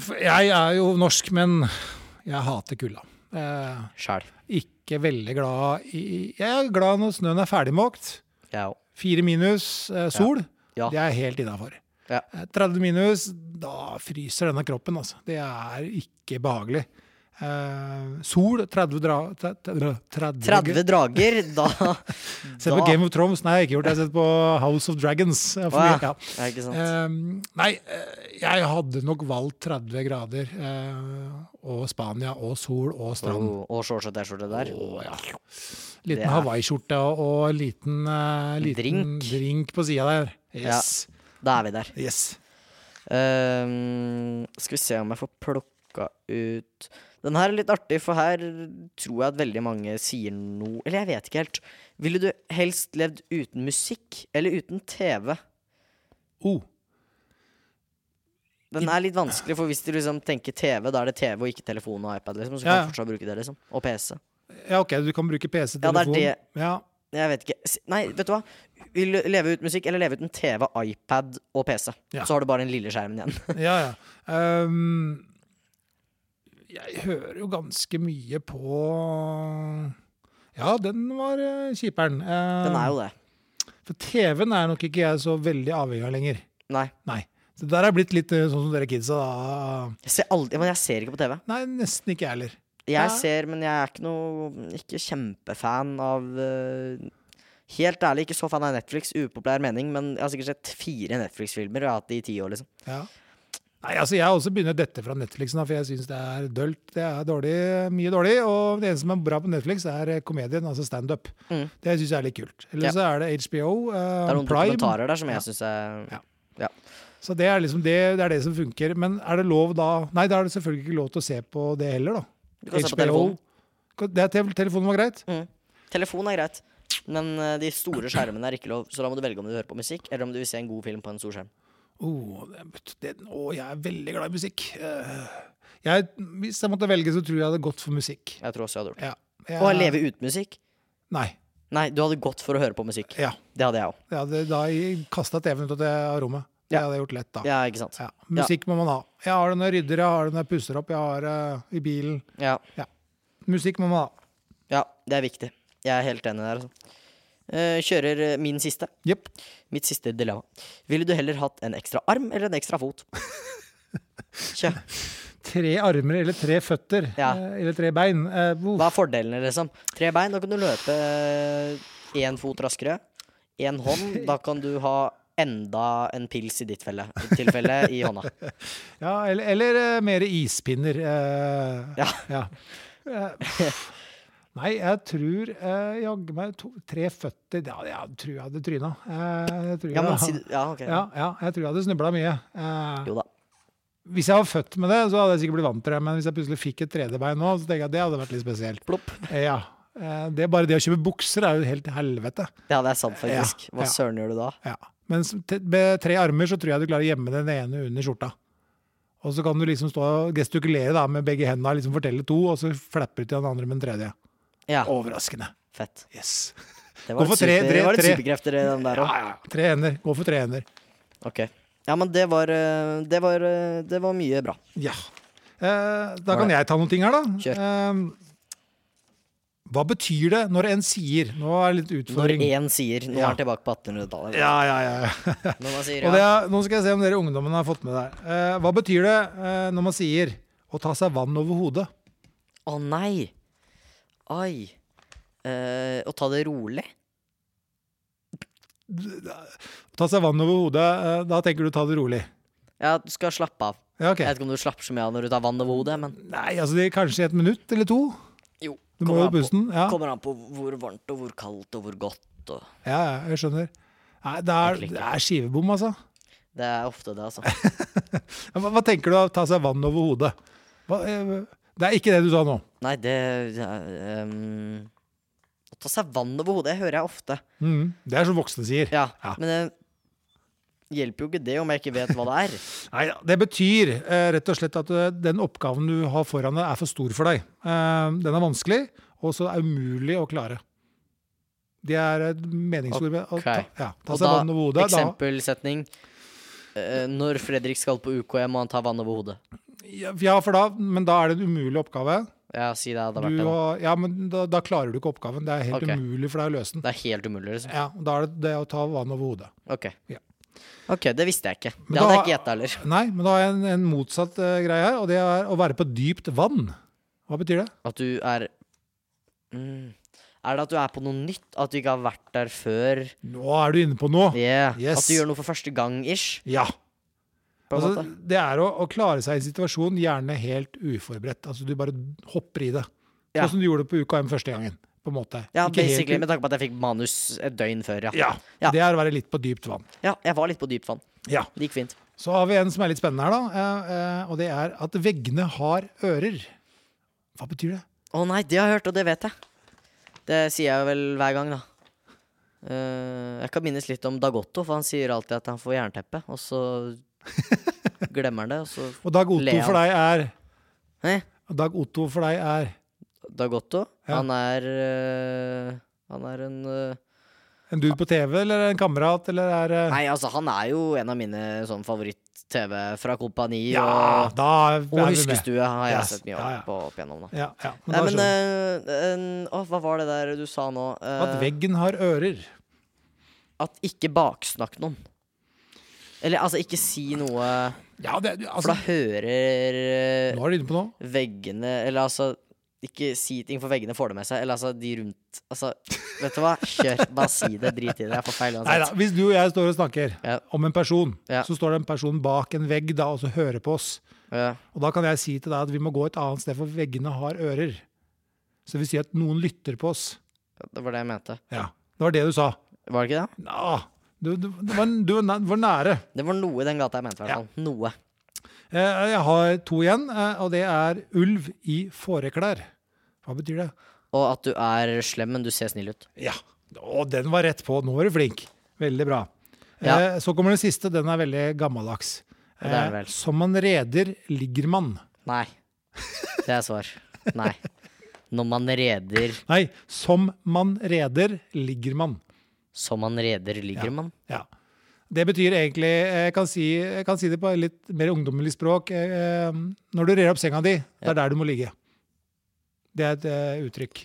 [SPEAKER 2] For Jeg er jo norsk, men jeg hater kulda. Eh,
[SPEAKER 1] Sjæl.
[SPEAKER 2] ikke veldig glad i Jeg er glad når snøen er ferdigmåkt.
[SPEAKER 1] Jeg òg.
[SPEAKER 2] Fire minus eh, sol,
[SPEAKER 1] Ja.
[SPEAKER 2] det er helt innafor.
[SPEAKER 1] Ja.
[SPEAKER 2] 30 minus, da fryser denne kroppen, altså. Det er ikke behagelig. Eh, sol, 30 dra... tre- tre- 30,
[SPEAKER 1] 30 drager,
[SPEAKER 2] (laughs)
[SPEAKER 1] da
[SPEAKER 2] Sett på Game of Thrones, nei, jeg har ikke gjort det. Jeg har sett på House of Dragons. Jeg har for
[SPEAKER 1] Å,
[SPEAKER 2] mye- ja.
[SPEAKER 1] Ja, ikke sant.
[SPEAKER 2] Eh, nei, eh, jeg hadde nok valgt 30 grader eh, og Spania og sol og strand.
[SPEAKER 1] Oh, og shorts og T-skjorte der.
[SPEAKER 2] Å, ja.
[SPEAKER 1] Det
[SPEAKER 2] Liten
[SPEAKER 1] er-
[SPEAKER 2] hawaiiskjorte og, og en liten, eh, liten drink.
[SPEAKER 1] Drink.
[SPEAKER 2] på sida der. Yes.
[SPEAKER 1] Da er vi der.
[SPEAKER 2] yes.
[SPEAKER 1] Ehm, skal vi se om jeg får plukka ut Den her er litt artig, for her tror jeg at veldig mange sier noe Eller jeg vet ikke helt. Ville du helst levd uten musikk eller uten TV?
[SPEAKER 2] Oh,
[SPEAKER 1] Den er litt vanskelig, for hvis du liksom tenker TV, da er det TV og ikke telefon og iPad. Liksom, så kan
[SPEAKER 2] Ja, ja.
[SPEAKER 1] du fortsatt bruke det, liksom. Og PC.
[SPEAKER 2] ja, OK, du kan bruke PC,
[SPEAKER 1] Ja, det er
[SPEAKER 2] telefon.
[SPEAKER 1] det.
[SPEAKER 2] Ja.
[SPEAKER 1] Jeg vet ikke. S- Nei, vet du hva? Vil du leve uten musikk eller leve uten TV, iPad og PC?
[SPEAKER 2] Ja.
[SPEAKER 1] Så har du bare den lille skjermen igjen.
[SPEAKER 2] ja, ja. Ehm, jeg hører jo ganske mye på Ja, den var uh, kjiperen. Uh,
[SPEAKER 1] Den er jo det.
[SPEAKER 2] For TV-en er nok ikke jeg så veldig avhengig av lenger.
[SPEAKER 1] Nei.
[SPEAKER 2] Nei. Så der er blitt litt eh, sånn som dere kidsa, da.
[SPEAKER 1] Jeg ser, aldri, men jeg ser ikke på TV.
[SPEAKER 2] Nei, nesten ikke jeg heller. Ja.
[SPEAKER 1] Jeg ser, men jeg er ikke noe Ikke kjempefan av eh, Helt ærlig, ikke så fan av Netflix. Upopulær mening, men jeg har sikkert sett fire Netflix-filmer og jeg har hatt det i ti år, liksom.
[SPEAKER 2] Ja. Nei, altså Jeg har også begynner å dette fra Netflixen, da, for jeg syns det er dølt. Det er dårlig, mye dårlig. Og det eneste som er bra på Netflix, er eh, komedien, altså standup.
[SPEAKER 1] Mm.
[SPEAKER 2] Det syns jeg er litt kult. Eller
[SPEAKER 1] Ja.
[SPEAKER 2] så er det HBO, eh,
[SPEAKER 1] Det er noen
[SPEAKER 2] Prime.
[SPEAKER 1] dokumentarer der som
[SPEAKER 2] Ja.
[SPEAKER 1] jeg syns er
[SPEAKER 2] Ja.
[SPEAKER 1] ja.
[SPEAKER 2] Så det er liksom det, det er det som funker. Men er det lov da Nei, da er det selvfølgelig ikke lov til å se på det heller, da.
[SPEAKER 1] Du kan se på telefonen.
[SPEAKER 2] Det er te- telefonen var greit?
[SPEAKER 1] Mm. Telefon er greit, men eh, de store skjermene er ikke lov, så da må du velge om du hører på musikk, eller om du vil se en god film på en stor skjerm.
[SPEAKER 2] Oh, det, det, å, jeg er veldig glad i musikk. Eh, Jeg, hvis jeg måtte velge, så tror jeg jeg hadde gått for musikk.
[SPEAKER 1] Jeg tror også jeg hadde gjort det.
[SPEAKER 2] Ja. Jeg,
[SPEAKER 1] Og leve uten musikk?
[SPEAKER 2] Nei.
[SPEAKER 1] Nei, du hadde gått for å høre på musikk.
[SPEAKER 2] Ja.
[SPEAKER 1] Det hadde jeg òg.
[SPEAKER 2] Jeg hadde da kasta TV-en ut av det rommet. Det
[SPEAKER 1] Ja.
[SPEAKER 2] hadde jeg gjort lett, da. Ja.
[SPEAKER 1] Ja, ikke sant.
[SPEAKER 2] Musikk må man ha. Jeg har den når jeg rydder, jeg har den når jeg pusser opp, jeg har eh, i bilen.
[SPEAKER 1] Ja.
[SPEAKER 2] Musikk må man ha.
[SPEAKER 1] ja, det er viktig. Jeg er helt enig der, altså. Eh, kjører eh, min siste.
[SPEAKER 2] Jepp.
[SPEAKER 1] Mitt siste dilemma. Ville du heller hatt en ekstra arm eller en ekstra
[SPEAKER 2] (laughs)
[SPEAKER 1] fot? Tja.
[SPEAKER 2] Tre armer eller tre føtter.
[SPEAKER 1] Ja.
[SPEAKER 2] eh, Eller tre bein. Eh, uff.
[SPEAKER 1] Hva er fordelene, liksom? Tre bein, da kan du løpe én fot raskere. Én hånd, da kan du ha enda en pils i ditt felle, tilfelle i
[SPEAKER 2] (laughs)
[SPEAKER 1] hånda.
[SPEAKER 2] Ja, eller, eller eh, mer ispinner. eh,
[SPEAKER 1] Ja.
[SPEAKER 2] Eh, pff. Nei, jeg tror eh, jaggu meg to, tre føtter Ja, jeg tror jeg hadde tryna. Eh, jeg tror
[SPEAKER 1] Ja, men
[SPEAKER 2] jeg,
[SPEAKER 1] si Ja, ok.
[SPEAKER 2] ja, ja, jeg tror jeg hadde snubla mye. Eh,
[SPEAKER 1] Jo da.
[SPEAKER 2] hvis jeg var født med det, så hadde jeg sikkert blitt vant til det. Men hvis jeg plutselig fikk et tredje bein nå, så tenker jeg at det hadde vært litt
[SPEAKER 1] (laughs)
[SPEAKER 2] spesielt.
[SPEAKER 1] Plopp.
[SPEAKER 2] Eh, ja. Eh, det er bare det å kjøpe bukser er jo helt helvete.
[SPEAKER 1] Ja, det er sant, faktisk.
[SPEAKER 2] Ja,
[SPEAKER 1] Hva
[SPEAKER 2] ja.
[SPEAKER 1] søren gjør du da?
[SPEAKER 2] Ja. Men s- te- med tre armer så tror jeg du klarer å gjemme den ene under skjorta. Og så kan du liksom stå og gestikulere da, med begge hendene, liksom fortelle to, og så flapper du til den andre med den tredje.
[SPEAKER 1] Ja,
[SPEAKER 2] Overraskende.
[SPEAKER 1] fett.
[SPEAKER 2] Yes.
[SPEAKER 1] Det
[SPEAKER 2] Gå
[SPEAKER 1] var,
[SPEAKER 2] for
[SPEAKER 1] litt
[SPEAKER 2] tre,
[SPEAKER 1] super,
[SPEAKER 2] tre,
[SPEAKER 1] det var litt
[SPEAKER 2] tre.
[SPEAKER 1] superkrefter i den der òg.
[SPEAKER 2] Ja, ja. Tre hender. Gå for tre hender.
[SPEAKER 1] Ok. Ja, men det var, eh, det var eh, Det var mye bra.
[SPEAKER 2] Ja. Eh, da kan jeg ta noen ting her, da.
[SPEAKER 1] Kjør.
[SPEAKER 2] Eh, hva betyr det når en sier Nå er det litt
[SPEAKER 1] Når
[SPEAKER 2] utfordring.
[SPEAKER 1] én sier Nå er
[SPEAKER 2] Ja.
[SPEAKER 1] han tilbake på 1800-tallet.
[SPEAKER 2] Ja, ja, ja.
[SPEAKER 1] Når man sier
[SPEAKER 2] Og det
[SPEAKER 1] ja.
[SPEAKER 2] er, nå skal jeg se om dere ungdommene har fått med det. her. Eh, hva betyr det eh, når man sier å ta seg vann over hodet?
[SPEAKER 1] Å nei! Ai. Eh, å ta det rolig?
[SPEAKER 2] Ta seg vann over hodet, eh, da tenker du ta det rolig.
[SPEAKER 1] Ja, du skal slappe av.
[SPEAKER 2] Ja, ok.
[SPEAKER 1] Jeg vet ikke om du slapper så mye av når du tar vann over hodet, men
[SPEAKER 2] Nei, altså det er kanskje et minutt eller to.
[SPEAKER 1] jo.
[SPEAKER 2] Du må jo
[SPEAKER 1] an
[SPEAKER 2] i bussen. Ja.
[SPEAKER 1] på, kommer an på hvor varmt og hvor kaldt og hvor godt og
[SPEAKER 2] ja, ja, jeg skjønner. Nei, det er,
[SPEAKER 1] Virkelig ikke.
[SPEAKER 2] det er skivebom, altså.
[SPEAKER 1] Det er ofte det,
[SPEAKER 2] (laughs)
[SPEAKER 1] altså.
[SPEAKER 2] Ja, Hva, hva tenker du av å ta seg vann over hodet? Hva, eh, det er ikke det du sa nå.
[SPEAKER 1] Nei, det det er, ehm, Å ta seg vann over hodet, det hører jeg ofte.
[SPEAKER 2] Mhm, Det er som voksne sier.
[SPEAKER 1] Ja,
[SPEAKER 2] Ja.
[SPEAKER 1] Men det hjelper jo ikke det om jeg ikke vet hva det
[SPEAKER 2] (laughs)
[SPEAKER 1] er.
[SPEAKER 2] Nei, da, det betyr eh, rett og slett at eh, den oppgaven du har foran deg, er for stor for deg. Eh, den er vanskelig, og så er det umulig å klare. Det er et meningsord. med å
[SPEAKER 1] Ok.
[SPEAKER 2] ta- Ja, ta
[SPEAKER 1] Og
[SPEAKER 2] seg vann over hodet. Da,
[SPEAKER 1] eksempelsetning. Eh, når Fredrik skal på UKM, må han ta vann over hodet.
[SPEAKER 2] Ja, for da, men da er det en umulig oppgave.
[SPEAKER 1] Ja, si det hadde vært
[SPEAKER 2] Du
[SPEAKER 1] det. da.
[SPEAKER 2] har, ja, men da, da klarer du ikke oppgaven. Det er helt
[SPEAKER 1] Ok.
[SPEAKER 2] umulig for deg å løse den.
[SPEAKER 1] Det er helt umulig, liksom.
[SPEAKER 2] Ja, og Da er det det å ta vann over hodet.
[SPEAKER 1] Ok.
[SPEAKER 2] Ja.
[SPEAKER 1] Ok, det visste jeg ikke.
[SPEAKER 2] Men
[SPEAKER 1] Det hadde
[SPEAKER 2] da-
[SPEAKER 1] jeg ikke gjetta heller.
[SPEAKER 2] Nei, men da har jeg en, en motsatt eh, greie her, og det er å være på dypt vann. Hva betyr det?
[SPEAKER 1] At du er mm. Er det at du er på noe nytt? At du ikke har vært der før?
[SPEAKER 2] Nå er du inne på noe!
[SPEAKER 1] Yeah.
[SPEAKER 2] Yes.
[SPEAKER 1] At du gjør noe for første gang-ish?
[SPEAKER 2] Ja.
[SPEAKER 1] På en
[SPEAKER 2] Altså,
[SPEAKER 1] måte.
[SPEAKER 2] det er å, å klare seg i en situasjon gjerne helt uforberedt. Altså du bare hopper i det.
[SPEAKER 1] Ja.
[SPEAKER 2] Sånn som du gjorde det på UKM første gangen. På en måte.
[SPEAKER 1] Ja,
[SPEAKER 2] Ikke helt
[SPEAKER 1] basically,
[SPEAKER 2] u-
[SPEAKER 1] med tanke på at jeg fikk manus et døgn før, ja.
[SPEAKER 2] ja.
[SPEAKER 1] Ja.
[SPEAKER 2] Det er å være litt på dypt vann.
[SPEAKER 1] Ja, jeg var litt på dypt vann.
[SPEAKER 2] Ja.
[SPEAKER 1] Det gikk fint.
[SPEAKER 2] Så har vi en som er litt spennende her, da. eh, eh, Og det er at veggene har ører. Hva betyr det?
[SPEAKER 1] Å nei, det har jeg hørt, og det vet jeg. Det sier jeg vel hver gang, da. Eh, jeg kan minnes litt om Dagotto, for han sier alltid at han får jernteppe, og så
[SPEAKER 2] (laughs)
[SPEAKER 1] glemmer han det, og så
[SPEAKER 2] Og Dag Otto
[SPEAKER 1] Leon.
[SPEAKER 2] for deg er
[SPEAKER 1] Hæ?
[SPEAKER 2] Dag Otto for deg er
[SPEAKER 1] Dagotto,
[SPEAKER 2] Ja.
[SPEAKER 1] han er eh, Han er en eh,
[SPEAKER 2] en dude på TV, eller en kamerat, eller er eh,
[SPEAKER 1] Nei, altså, han er jo en av mine sånn favoritt-TV fra Kompani
[SPEAKER 2] Ja,
[SPEAKER 1] og,
[SPEAKER 2] da er vi
[SPEAKER 1] og
[SPEAKER 2] med.
[SPEAKER 1] Huskestue har jeg
[SPEAKER 2] Yes,
[SPEAKER 1] sett mye
[SPEAKER 2] ja,
[SPEAKER 1] av
[SPEAKER 2] ja.
[SPEAKER 1] på opp igjennom, da.
[SPEAKER 2] Ja, ja. Men
[SPEAKER 1] Nei,
[SPEAKER 2] da
[SPEAKER 1] men
[SPEAKER 2] skjønner
[SPEAKER 1] eh, en- Å, hva var det der du sa nå?
[SPEAKER 2] du. At
[SPEAKER 1] Eh,
[SPEAKER 2] veggen har ører.
[SPEAKER 1] at ikke baksnakk noen. Eller altså, ikke si noe,
[SPEAKER 2] Ja, det,
[SPEAKER 1] for
[SPEAKER 2] altså,
[SPEAKER 1] da hører eh,
[SPEAKER 2] nå er du inne på noe.
[SPEAKER 1] veggene Eller altså, ikke si ting, for veggene får det med seg. Eller altså, de rundt Altså, vet du hva? Kjør, bare si det. Drit i det. Jeg får feil
[SPEAKER 2] Nei da,
[SPEAKER 1] uansett.
[SPEAKER 2] hvis du og jeg står og snakker
[SPEAKER 1] Ja.
[SPEAKER 2] om en person,
[SPEAKER 1] Ja.
[SPEAKER 2] så står det en person bak en vegg da, og så hører på oss.
[SPEAKER 1] Ja.
[SPEAKER 2] Og da kan jeg si til deg at vi må gå et annet sted, for veggene har ører. Så det vil si at noen lytter på oss.
[SPEAKER 1] Det var det jeg mente.
[SPEAKER 2] Ja, det var det du sa.
[SPEAKER 1] Var det ikke det?
[SPEAKER 2] Nå, du, du, det var, du var næ- var nære.
[SPEAKER 1] Det var noe i den gata jeg mente, i hvert fall. Noe.
[SPEAKER 2] Eh, Jeg har to igjen, eh, og det er ulv i fåreklær. Hva betyr det?
[SPEAKER 1] Og at du er slem, men du ser snill ut.
[SPEAKER 2] Ja, å, den var rett på. Nå var du flink. Veldig bra.
[SPEAKER 1] Ja.
[SPEAKER 2] Eh, Så kommer den siste, den er veldig gammeldags.
[SPEAKER 1] Ja, det er den vel.
[SPEAKER 2] Eh, Som man reder, ligger man.
[SPEAKER 1] Nei. Det er svar. Nei. Når man reder
[SPEAKER 2] Nei, som man reder, ligger man.
[SPEAKER 1] som man reder, ligger man.
[SPEAKER 2] Ja. Det betyr egentlig, eh, jeg kan si, jeg kan si det på litt mer ungdommelig språk, eh, eh, når du rer opp senga di, det er der du må ligge. Det er et eh, uttrykk.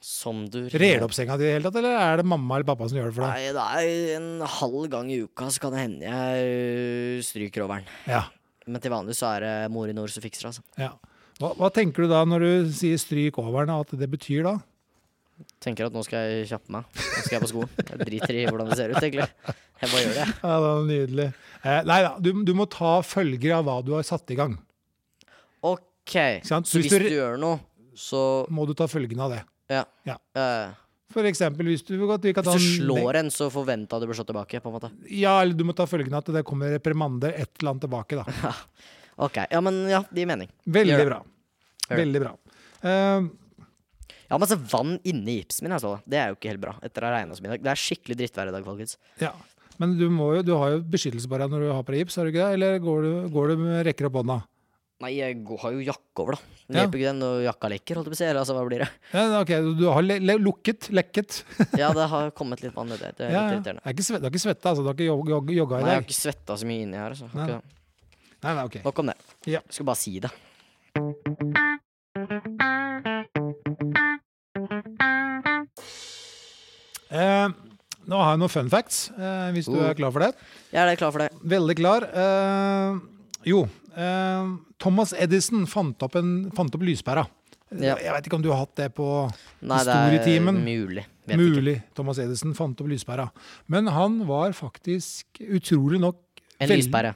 [SPEAKER 1] Som du
[SPEAKER 2] Rer du opp senga di i det hele tatt, eller er det mamma eller pappa som gjør det for deg?
[SPEAKER 1] Nei, det er en halv gang i uka så kan det hende jeg ø, stryker over den.
[SPEAKER 2] Ja,
[SPEAKER 1] Men til vanlig så er det mor i nord som fikser det. Altså.
[SPEAKER 2] ja. Hva, hva tenker du da når du sier stryk over den, at det betyr da?
[SPEAKER 1] Tenker at nå skal jeg kjappe meg. Nå skal jeg på skolen. Jeg driter i hvordan det ser ut, egentlig. Jeg bare gjør det.
[SPEAKER 2] Ja, det var nydelig. Eh, nei da, du, du må ta følger av hva du har satt i gang.
[SPEAKER 1] OK.
[SPEAKER 2] sant?
[SPEAKER 1] Så
[SPEAKER 2] Hvis
[SPEAKER 1] hvis
[SPEAKER 2] du
[SPEAKER 1] du
[SPEAKER 2] re-
[SPEAKER 1] gjør noe, så
[SPEAKER 2] Må du ta følgene av det.
[SPEAKER 1] Ja.
[SPEAKER 2] Ja.
[SPEAKER 1] Eh,
[SPEAKER 2] For eksempel hvis du, at vi kan ta
[SPEAKER 1] hvis du
[SPEAKER 2] en-
[SPEAKER 1] slår en, så forventa du blir slått tilbake, på en måte.
[SPEAKER 2] Ja, eller du må ta følgene at det kommer reprimander et eller annet tilbake da.
[SPEAKER 1] (laughs) OK. Ja, men ja, det gir mening. Gjør
[SPEAKER 2] Veldig
[SPEAKER 1] det.
[SPEAKER 2] bra.
[SPEAKER 1] Gjør det.
[SPEAKER 2] Veldig bra. Eh,
[SPEAKER 1] Ja, men altså, vann inni gipsen min, jeg så det. Det er jo ikke helt bra. Etter å ha regna som i dag. Det er skikkelig drittvær i dag, folkens.
[SPEAKER 2] ja. Men du, må jo, du har jo beskyttelse på deg når du har på deg gips, har du ikke det? Eller går du, går du med rekker opp hånda?
[SPEAKER 1] Nei, jeg går- har jo jakke over, da. Det
[SPEAKER 2] Ja.
[SPEAKER 1] hjelper ikke den når jakka lekker, holdt jeg på å si. Eller altså, hva
[SPEAKER 2] (laughs)
[SPEAKER 1] blir det?
[SPEAKER 2] Ja, ok, du- du har le, le, lukket, lekket.
[SPEAKER 1] Ja, det har kommet litt vann i det. Det er litt
[SPEAKER 2] Ja, ja.
[SPEAKER 1] irriterende.
[SPEAKER 2] Er ikke svett- Du har ikke svetta, altså? Du har ikke jog, jog, jogga i
[SPEAKER 1] Nei, jeg har
[SPEAKER 2] dag?
[SPEAKER 1] ikke svetta så mye inni her. Altså. Har
[SPEAKER 2] Nei,
[SPEAKER 1] ikke det.
[SPEAKER 2] Nei, nei, ok.
[SPEAKER 1] Nok om det.
[SPEAKER 2] Ja.
[SPEAKER 1] Jeg skulle bare si det.
[SPEAKER 2] Eh, nå har jeg noen fun facts, eh, hvis du
[SPEAKER 1] Uh.
[SPEAKER 2] er klar for det.
[SPEAKER 1] Jeg er klar for det.
[SPEAKER 2] Veldig klar. Eh, jo, eh, Thomas Edison fant opp, en, fant opp lyspæra.
[SPEAKER 1] Ja.
[SPEAKER 2] Jeg veit ikke om du har hatt det på
[SPEAKER 1] Nei, det er
[SPEAKER 2] Historietimen.
[SPEAKER 1] mulig. Vet ikke.
[SPEAKER 2] Mulig Thomas Edison fant opp lyspæra. Men han var faktisk utrolig nok
[SPEAKER 1] En
[SPEAKER 2] veldig-
[SPEAKER 1] lyspære.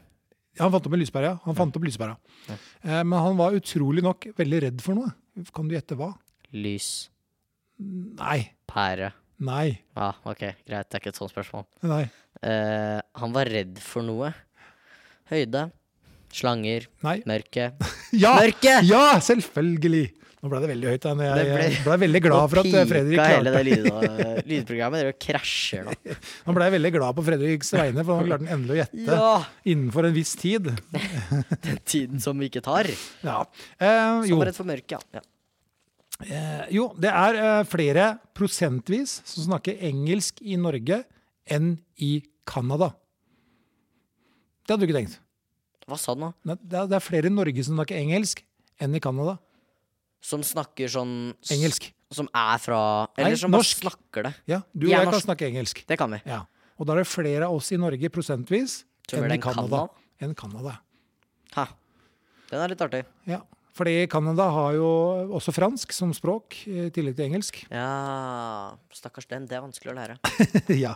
[SPEAKER 2] Ja, Han fant opp en lyspære, ja. Han fant opp lyspæra.
[SPEAKER 1] Ja.
[SPEAKER 2] Eh, men han var utrolig nok veldig redd for noe. Kan du gjette hva?
[SPEAKER 1] Lyspære.
[SPEAKER 2] Nei. Nei.
[SPEAKER 1] Ja, Ah, OK, greit. Det er ikke et sånt spørsmål.
[SPEAKER 2] Nei.
[SPEAKER 1] Eh, han var redd for noe. Høyde. Slanger.
[SPEAKER 2] Nei.
[SPEAKER 1] Mørke.
[SPEAKER 2] Ja!
[SPEAKER 1] Mørke!
[SPEAKER 2] Ja, selvfølgelig! Nå ble det veldig høyt. da, men Jeg,
[SPEAKER 1] Det ble-
[SPEAKER 2] jeg ble veldig glad for at eh, Fredrik
[SPEAKER 1] pika hele
[SPEAKER 2] klarte
[SPEAKER 1] det lyd, lydprogrammet. Dere krasjer
[SPEAKER 2] (laughs)
[SPEAKER 1] nå.
[SPEAKER 2] Han ble veldig glad på Fredriks vegne, for han klarte han endelig å gjette
[SPEAKER 1] Ja!
[SPEAKER 2] innenfor en viss tid.
[SPEAKER 1] Den tiden som vi ikke tar.
[SPEAKER 2] Ja. Eh,
[SPEAKER 1] Som
[SPEAKER 2] jo.
[SPEAKER 1] var redd for mørket, ja. ja.
[SPEAKER 2] Eh, jo, det er eh, flere prosentvis som snakker engelsk i Norge enn i Canada. Det hadde du ikke tenkt.
[SPEAKER 1] Hva sa du nå?
[SPEAKER 2] Nei, Det er, det er flere i Norge som snakker engelsk enn i Canada.
[SPEAKER 1] Som snakker sånn s-
[SPEAKER 2] Engelsk.
[SPEAKER 1] Som er fra
[SPEAKER 2] Nei,
[SPEAKER 1] Eller som bare
[SPEAKER 2] norsk.
[SPEAKER 1] snakker det.
[SPEAKER 2] Ja, du og
[SPEAKER 1] Vi er
[SPEAKER 2] jeg kan
[SPEAKER 1] norsk.
[SPEAKER 2] snakke engelsk.
[SPEAKER 1] Det kan vi.
[SPEAKER 2] Ja. Og da er det flere av oss i Norge prosentvis
[SPEAKER 1] Som er
[SPEAKER 2] enn i
[SPEAKER 1] den
[SPEAKER 2] Canada.
[SPEAKER 1] Canada?
[SPEAKER 2] Enn Canada.
[SPEAKER 1] Ha. Den er litt artig.
[SPEAKER 2] Ja. Fordi Canada har jo også fransk som språk, eh, i tillegg til engelsk.
[SPEAKER 1] Ja Stakkars den. Det er vanskelig å lære.
[SPEAKER 2] (laughs) ja.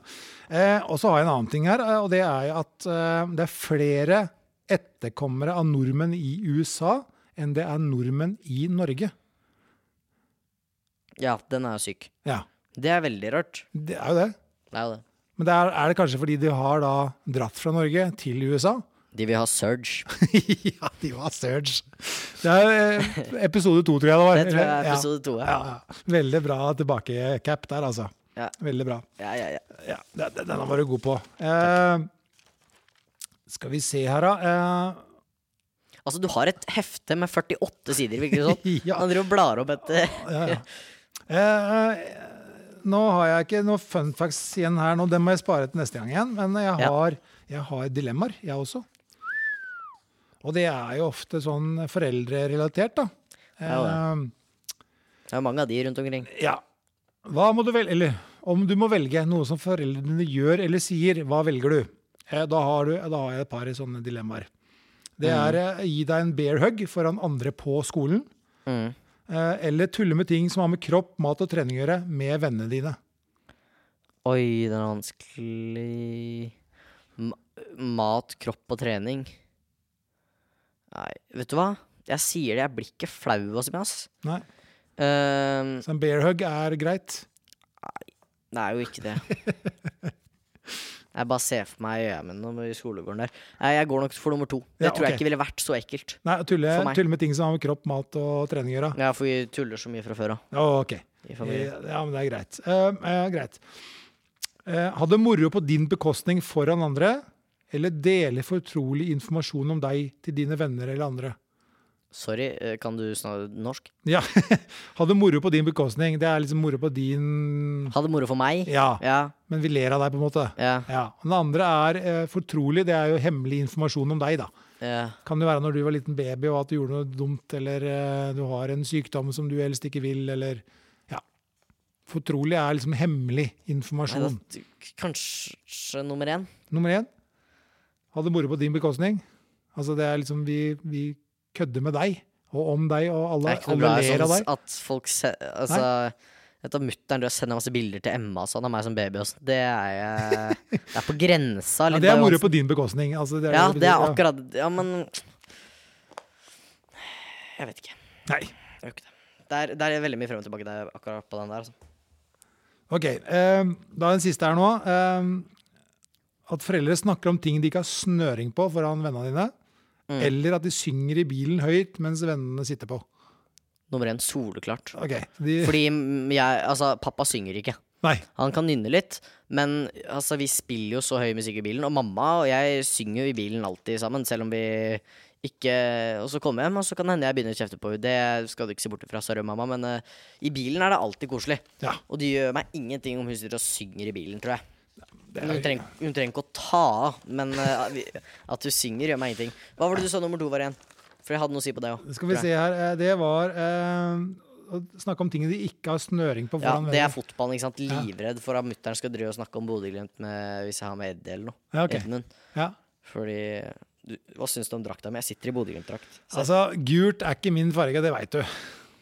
[SPEAKER 2] eh, og så har jeg en annen ting her, eh, og det er jo at eh, det er flere etterkommere av nordmenn i USA enn det er nordmenn i Norge.
[SPEAKER 1] Ja, den er jo syk.
[SPEAKER 2] Ja,
[SPEAKER 1] Det er veldig rart.
[SPEAKER 2] det er jo det.
[SPEAKER 1] Det er jo det.
[SPEAKER 2] Men det er, er det kanskje fordi de har da dratt fra Norge til USA? (laughs)
[SPEAKER 1] De vil ha surge.
[SPEAKER 2] ja, de var surge. Det er eh, episode to, tror jeg det var.
[SPEAKER 1] (laughs) Det tror jeg er
[SPEAKER 2] Ja.
[SPEAKER 1] episode to.
[SPEAKER 2] Ja,
[SPEAKER 1] Ja.
[SPEAKER 2] ja. Veldig bra tilbakecap der, altså.
[SPEAKER 1] Ja.
[SPEAKER 2] Veldig bra.
[SPEAKER 1] Ja, ja, ja.
[SPEAKER 2] Ja, den, den- den var du god på. Eh, skal vi se her, da. Eh,
[SPEAKER 1] Altså, du har et hefte med 48 sider, virker det sånn.
[SPEAKER 2] (laughs) Ja.
[SPEAKER 1] Han driver og blar opp et eh,
[SPEAKER 2] ja, ja. Eh, nå har jeg ikke noe fun facts igjen her nå. Den må jeg spare til neste gang igjen. Men jeg
[SPEAKER 1] Ja.
[SPEAKER 2] har, jeg har dilemmaer, jeg også. Og det er jo ofte sånn foreldrerelatert, da.
[SPEAKER 1] Ja,
[SPEAKER 2] Eh,
[SPEAKER 1] Det er mange av de rundt omkring.
[SPEAKER 2] ja. Hva må du velge, eller om du må velge noe som foreldrene gjør eller sier, hva velger du? Eh, da, har du da har jeg et par sånne dilemmaer. Det er eh, gi deg en bear hug foran andre på skolen.
[SPEAKER 1] Mm.
[SPEAKER 2] Eh, eller tulle med ting som har med kropp, mat og trening å gjøre, med vennene dine.
[SPEAKER 1] Oi, den er vanskelig Ma Mat, kropp og trening. Nei, vet du hva? Jeg sier det, jeg blir ikke flau og sånn, ass.
[SPEAKER 2] Nei,
[SPEAKER 1] Ehm,
[SPEAKER 2] Så en bear hug er greit.
[SPEAKER 1] det er jo ikke det.
[SPEAKER 2] (laughs)
[SPEAKER 1] Jeg bare ser for meg øynene i skolegården der. Nei, jeg går nok for nummer to. Det
[SPEAKER 2] Ja,
[SPEAKER 1] tror jeg
[SPEAKER 2] ok.
[SPEAKER 1] ikke ville vært så ekkelt.
[SPEAKER 2] Nei, tulle,
[SPEAKER 1] For meg.
[SPEAKER 2] tulle med ting som har med kropp, mat og trening å gjøre.
[SPEAKER 1] Ja, for vi tuller så mye fra før av
[SPEAKER 2] Ja, ok.
[SPEAKER 1] i familien.
[SPEAKER 2] Ja, men det er greit. Eh, eh, greit. Eh, ha det moro på din bekostning foran andre, eller dele fortrolig informasjon om deg til dine venner eller andre.
[SPEAKER 1] Sorry, eh, kan du snakke norsk?
[SPEAKER 2] Ja, (laughs) ha det moro på din bekostning. Det er liksom moro på din
[SPEAKER 1] Ha det moro for meg.
[SPEAKER 2] Ja,
[SPEAKER 1] Ja,
[SPEAKER 2] men vi ler av deg, på en måte.
[SPEAKER 1] ja,
[SPEAKER 2] Ja. Og Den andre er eh, fortrolig. Det er jo hemmelig informasjon om deg, da.
[SPEAKER 1] ja.
[SPEAKER 2] Kan det være når du var liten baby og at du gjorde noe dumt, eller eh, du har en sykdom som du helst ikke vil, eller Ja. Fortrolig er liksom hemmelig
[SPEAKER 1] Nei,
[SPEAKER 2] informasjon.
[SPEAKER 1] da, kanskje nummer én?
[SPEAKER 2] Nummer én ha det moro på din bekostning. Altså det er liksom vi, vi kødder med deg og om deg, og alle,
[SPEAKER 1] Det er ikke noe
[SPEAKER 2] alle
[SPEAKER 1] bra
[SPEAKER 2] ler av
[SPEAKER 1] sånn
[SPEAKER 2] deg.
[SPEAKER 1] at folk se, altså, Vet du, Mutter'n sender masse bilder til Emma og sånn, av meg som baby. Og sånn. det, er, jeg- det er på grensa.
[SPEAKER 2] Ja,
[SPEAKER 1] litt
[SPEAKER 2] det er
[SPEAKER 1] av
[SPEAKER 2] moro
[SPEAKER 1] Johansen.
[SPEAKER 2] på din bekostning. Altså, det er,
[SPEAKER 1] Ja,
[SPEAKER 2] det
[SPEAKER 1] det er
[SPEAKER 2] betyr,
[SPEAKER 1] akkurat Ja, men Jeg vet ikke.
[SPEAKER 2] ja. Nei.
[SPEAKER 1] Jeg gjør ikke det. Det er, det er veldig mye frem og tilbake der, akkurat på den der. Altså.
[SPEAKER 2] Ok, eh, da er den siste her nå. Eh, at foreldre snakker om ting de ikke har snøring på foran vennene dine.
[SPEAKER 1] Mm.
[SPEAKER 2] Eller at de synger i bilen høyt mens vennene sitter på.
[SPEAKER 1] Nummer én, soleklart.
[SPEAKER 2] Ok, de,
[SPEAKER 1] Fordi mm, jeg Altså, pappa synger ikke.
[SPEAKER 2] Nei.
[SPEAKER 1] Han kan nynne litt, men altså, vi spiller jo så høy musikk i bilen. Og mamma og jeg synger jo i bilen alltid sammen, selv om vi ikke Og så kommer jeg hjem, og så kan det hende jeg begynner å kjefte på henne. Det skal du ikke se bort fra, sorry, mamma, men eh, i bilen er det alltid koselig.
[SPEAKER 2] Ja,
[SPEAKER 1] Og det gjør meg ingenting om hun sitter og synger i bilen, tror jeg.
[SPEAKER 2] det
[SPEAKER 1] Hun
[SPEAKER 2] er,
[SPEAKER 1] trenger, hun trenger ikke å ta av, men eh, vi- at hun synger, gjør meg ingenting. Hva var det du sa nummer to var igjen? For jeg hadde noe å si på det òg.
[SPEAKER 2] skal vi se her. Eh, det var eh, å snakke om ting de ikke har snøring på
[SPEAKER 1] Ja,
[SPEAKER 2] foran
[SPEAKER 1] det er
[SPEAKER 2] vennene.
[SPEAKER 1] fotballen, ikke sant. Livredd for at mutter'n skal drive og snakke om Bodø-Glimt med- hvis jeg har med Eddie eller noe.
[SPEAKER 2] Ja, ok.
[SPEAKER 1] Edmund.
[SPEAKER 2] Ja.
[SPEAKER 1] Fordi du, Hva syns du om drakta mi? Jeg sitter i Bodø-Glimt-drakt. Se,
[SPEAKER 2] Altså, gult er ikke min farge, det veit du.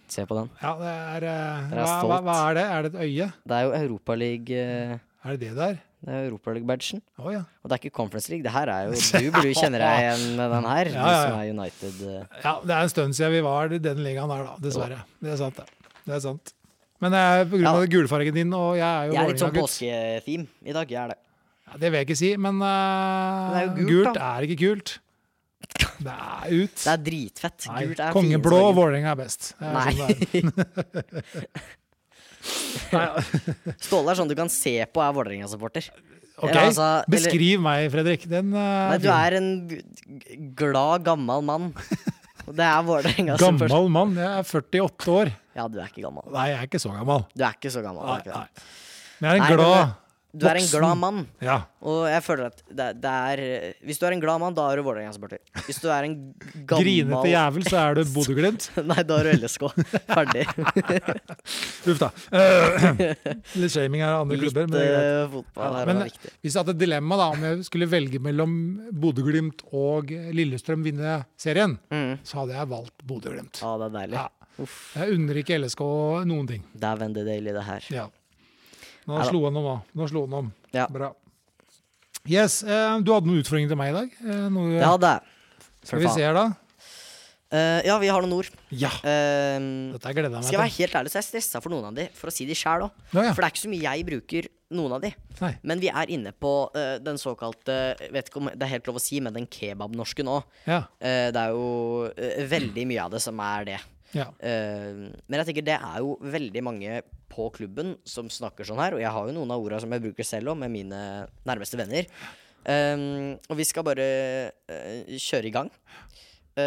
[SPEAKER 1] se på den.
[SPEAKER 2] Ja, det er, eh,
[SPEAKER 1] Dere er
[SPEAKER 2] hva, hva,
[SPEAKER 1] stolt.
[SPEAKER 2] hva er det? Er det et øye?
[SPEAKER 1] Det er jo Europaliga-badgen.
[SPEAKER 2] Er det det der?
[SPEAKER 1] Det er Europaliga-badgen.
[SPEAKER 2] Å ja.
[SPEAKER 1] Og det er ikke Conference League. Det her er
[SPEAKER 2] (laughs)
[SPEAKER 1] jo Du burde jo kjenne deg igjen med den her,
[SPEAKER 2] Ja, ja,
[SPEAKER 1] du som
[SPEAKER 2] ja.
[SPEAKER 1] er United. eh.
[SPEAKER 2] ja. Det er en stund siden vi var i den ligaen der, da. Dessverre. Det er sant, det. det er sant. Men det er på grunn av
[SPEAKER 1] Ja.
[SPEAKER 2] gulfargen din, og jeg er jo
[SPEAKER 1] Jeg er litt sånn
[SPEAKER 2] Vålerenga-gutt.
[SPEAKER 1] påsketheme i dag. Jeg er det.
[SPEAKER 2] Ja, det vil jeg ikke si, men eh,
[SPEAKER 1] Men det er jo
[SPEAKER 2] gult,
[SPEAKER 1] gult, da.
[SPEAKER 2] er ikke
[SPEAKER 1] (laughs)
[SPEAKER 2] kult. Det er ut.
[SPEAKER 1] Det er dritfett.
[SPEAKER 2] Nei,
[SPEAKER 1] Gult er
[SPEAKER 2] Kongeblå og
[SPEAKER 1] fiendens farge.
[SPEAKER 2] Vålerenga er best. Det er sånn det er.
[SPEAKER 1] Nei.
[SPEAKER 2] (laughs)
[SPEAKER 1] (laughs)
[SPEAKER 2] Nei,
[SPEAKER 1] Ståle er sånn du kan se på er Vålerenga-supporter.
[SPEAKER 2] ok.
[SPEAKER 1] Eller altså, eller-
[SPEAKER 2] Beskriv meg, Fredrik. Den eh,
[SPEAKER 1] Nei, du
[SPEAKER 2] fin.
[SPEAKER 1] er en g- g- glad, gammel
[SPEAKER 2] (laughs)
[SPEAKER 1] mann. Og det er Vålerenga-supporter.
[SPEAKER 2] Gammel mann. Jeg er 48 år.
[SPEAKER 1] Ja, du er ikke gammel.
[SPEAKER 2] Nei, jeg er ikke så gammel.
[SPEAKER 1] Du er ikke så gammel. du er
[SPEAKER 2] Nei,
[SPEAKER 1] ikke det.
[SPEAKER 2] nei. Men jeg er
[SPEAKER 1] Nei,
[SPEAKER 2] en glad,
[SPEAKER 1] Du er en
[SPEAKER 2] Voksen.
[SPEAKER 1] glad mann.
[SPEAKER 2] Ja.
[SPEAKER 1] Og jeg føler at det, det er Hvis du er en glad mann, da er du Vålerenga-supporter. Hvis du
[SPEAKER 2] (laughs)
[SPEAKER 1] er en gammel
[SPEAKER 2] Grinete jævel, så er du Bodø-Glimt.
[SPEAKER 1] (laughs) Nei, da er du LSK.
[SPEAKER 2] (laughs)
[SPEAKER 1] Ferdig.
[SPEAKER 2] Uff da. Eh, (clears throat) Litt shaming her av andre
[SPEAKER 1] Litt
[SPEAKER 2] klubber. Men det er greit.
[SPEAKER 1] eh, fotball her
[SPEAKER 2] Men-
[SPEAKER 1] var viktig.
[SPEAKER 2] Hvis jeg hadde et dilemma da, om jeg skulle velge mellom Bodø-Glimt og Lillestrøm vinne serien,
[SPEAKER 1] Mm.
[SPEAKER 2] så hadde jeg valgt Bodø-Glimt.
[SPEAKER 1] Ja, det er deilig.
[SPEAKER 2] Ja. Jeg unner ikke LSK noen ting.
[SPEAKER 1] Dæven, det er deilig, det her.
[SPEAKER 2] Ja. Nå
[SPEAKER 1] Neida.
[SPEAKER 2] slo han om, da. Nå slo han om.
[SPEAKER 1] Ja.
[SPEAKER 2] Bra. Yes, eh, Du hadde noen utfordringer til meg i dag? Eh, noe,
[SPEAKER 1] Det hadde jeg.
[SPEAKER 2] skal vi se her, da?
[SPEAKER 1] Eh, ja, vi har noen ord.
[SPEAKER 2] Ja!
[SPEAKER 1] Eh,
[SPEAKER 2] Dette gleder jeg
[SPEAKER 1] skal
[SPEAKER 2] meg
[SPEAKER 1] jeg
[SPEAKER 2] til.
[SPEAKER 1] være helt ærlig, så er jeg stressa for noen av de, for å si de sjæl òg.
[SPEAKER 2] Ja, ja.
[SPEAKER 1] For det er ikke så mye jeg bruker noen av de.
[SPEAKER 2] Nei.
[SPEAKER 1] Men vi er inne på eh, den såkalte jeg Vet ikke om det er helt lov å si, men den kebabnorsken òg.
[SPEAKER 2] Ja.
[SPEAKER 1] det er jo eh, veldig mye av det som er det.
[SPEAKER 2] ja.
[SPEAKER 1] Eh, men jeg tenker det er jo veldig mange på klubben som snakker sånn her, og jeg har jo noen av orda som jeg bruker selv òg, med mine nærmeste venner. Eh, og vi skal bare eh, kjøre i gang.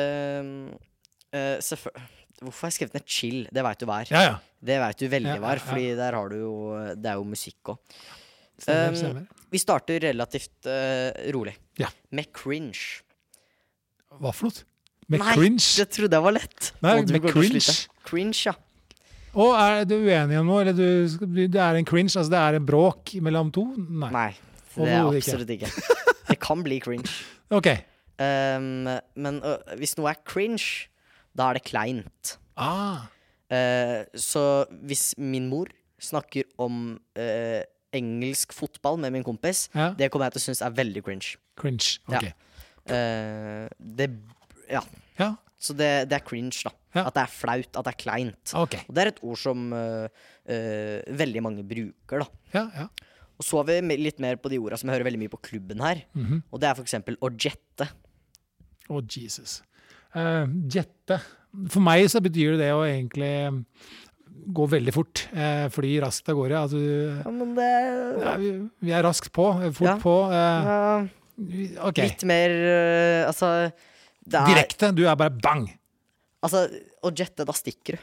[SPEAKER 1] Eh, eh, selvfø- Hvorfor har jeg skrevet ned 'chill'? Det veit du hva er.
[SPEAKER 2] ja, ja.
[SPEAKER 1] Det veit du veldig
[SPEAKER 2] Ja,
[SPEAKER 1] hva er,
[SPEAKER 2] ja, ja.
[SPEAKER 1] fordi der har du jo Det er jo musikk òg.
[SPEAKER 2] Stemmer,
[SPEAKER 1] Um,
[SPEAKER 2] stemmer.
[SPEAKER 1] Vi starter relativt eh, rolig.
[SPEAKER 2] Ja.
[SPEAKER 1] Med cringe.
[SPEAKER 2] Hva for noe? Med
[SPEAKER 1] Nei,
[SPEAKER 2] cringe?
[SPEAKER 1] Det trodde jeg var lett.
[SPEAKER 2] Nei,
[SPEAKER 1] Å, du
[SPEAKER 2] med
[SPEAKER 1] går til å
[SPEAKER 2] cringe.
[SPEAKER 1] slite. Cringe, ja.
[SPEAKER 2] Å, er du uenig om noe? Eller du, det er en cringe? Altså det er en bråk mellom to? Nei.
[SPEAKER 1] Nei, det er
[SPEAKER 2] Overhodet ikke.
[SPEAKER 1] absolutt ikke. Det kan bli cringe.
[SPEAKER 2] OK.
[SPEAKER 1] Um, men ø, hvis noe er cringe, da er det kleint.
[SPEAKER 2] Ah.
[SPEAKER 1] Eh, så hvis min mor snakker om eh, engelsk fotball med min kompis,
[SPEAKER 2] Ja.
[SPEAKER 1] det kommer jeg til å synes er veldig cringe.
[SPEAKER 2] Cringe.
[SPEAKER 1] Ja.
[SPEAKER 2] OK.
[SPEAKER 1] Eh, det Ja.
[SPEAKER 2] Ja.
[SPEAKER 1] Så det, det er cringe, da.
[SPEAKER 2] Ja.
[SPEAKER 1] At det er flaut, at det er kleint.
[SPEAKER 2] OK.
[SPEAKER 1] Og det er et ord som eh, eh, veldig mange bruker, da.
[SPEAKER 2] Ja, ja.
[SPEAKER 1] Og så har vi me- litt mer på de orda som jeg hører veldig mye på klubben her.
[SPEAKER 2] Mhm.
[SPEAKER 1] Og det er for eksempel å jette.
[SPEAKER 2] Å, Jesus. Eh, jette. For meg så betyr det å egentlig gå veldig fort. eh, fly raskt av gårde. Altså,
[SPEAKER 1] Ja, men det
[SPEAKER 2] ja, vi, vi er raskt på. eh, Fort
[SPEAKER 1] Ja.
[SPEAKER 2] på. eh,
[SPEAKER 1] ja,
[SPEAKER 2] vi- OK.
[SPEAKER 1] Litt mer eh, Altså det er,
[SPEAKER 2] Direkte. Du er bare bang.
[SPEAKER 1] Altså, å jette, da stikker du.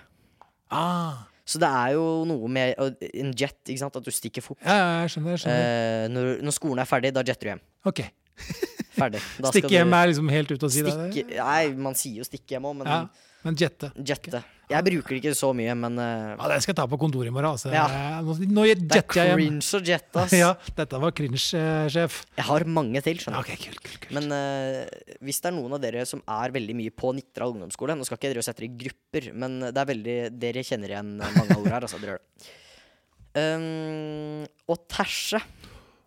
[SPEAKER 2] Ah.
[SPEAKER 1] Så det er jo noe med og en jet, ikke sant, at du stikker fort.
[SPEAKER 2] Ja, ja, jeg skjønner. jeg skjønner.
[SPEAKER 1] Eh, når, når skolen er ferdig, da jetter du hjem.
[SPEAKER 2] OK.
[SPEAKER 1] Ferdig.
[SPEAKER 2] (laughs)
[SPEAKER 1] Da skal
[SPEAKER 2] Stikke
[SPEAKER 1] du
[SPEAKER 2] hjem er liksom helt ute å si det.
[SPEAKER 1] Stikke, nei, man sier jo stikke hjem òg, men
[SPEAKER 2] Ja, men jette.
[SPEAKER 1] jette. Jeg bruker det ikke så mye, men eh,
[SPEAKER 2] Ja, det skal jeg ta på kontoret i morgen. Altså.
[SPEAKER 1] Ja.
[SPEAKER 2] Nå, nå
[SPEAKER 1] Det er
[SPEAKER 2] jetter jeg hjem.
[SPEAKER 1] cringe å jette, ass.
[SPEAKER 2] (laughs) Ja, dette var eh, cringe-sjef.
[SPEAKER 1] Jeg har mange til, skjønner du.
[SPEAKER 2] Ok, kult, kult, kult.
[SPEAKER 1] Men eh, hvis det er noen av dere som er veldig mye på Nitra ungdomsskole Nå skal ikke dere sette dere i grupper, men det er veldig, dere kjenner igjen mange ord her. Altså, dere gjør det. Um, og tæsje,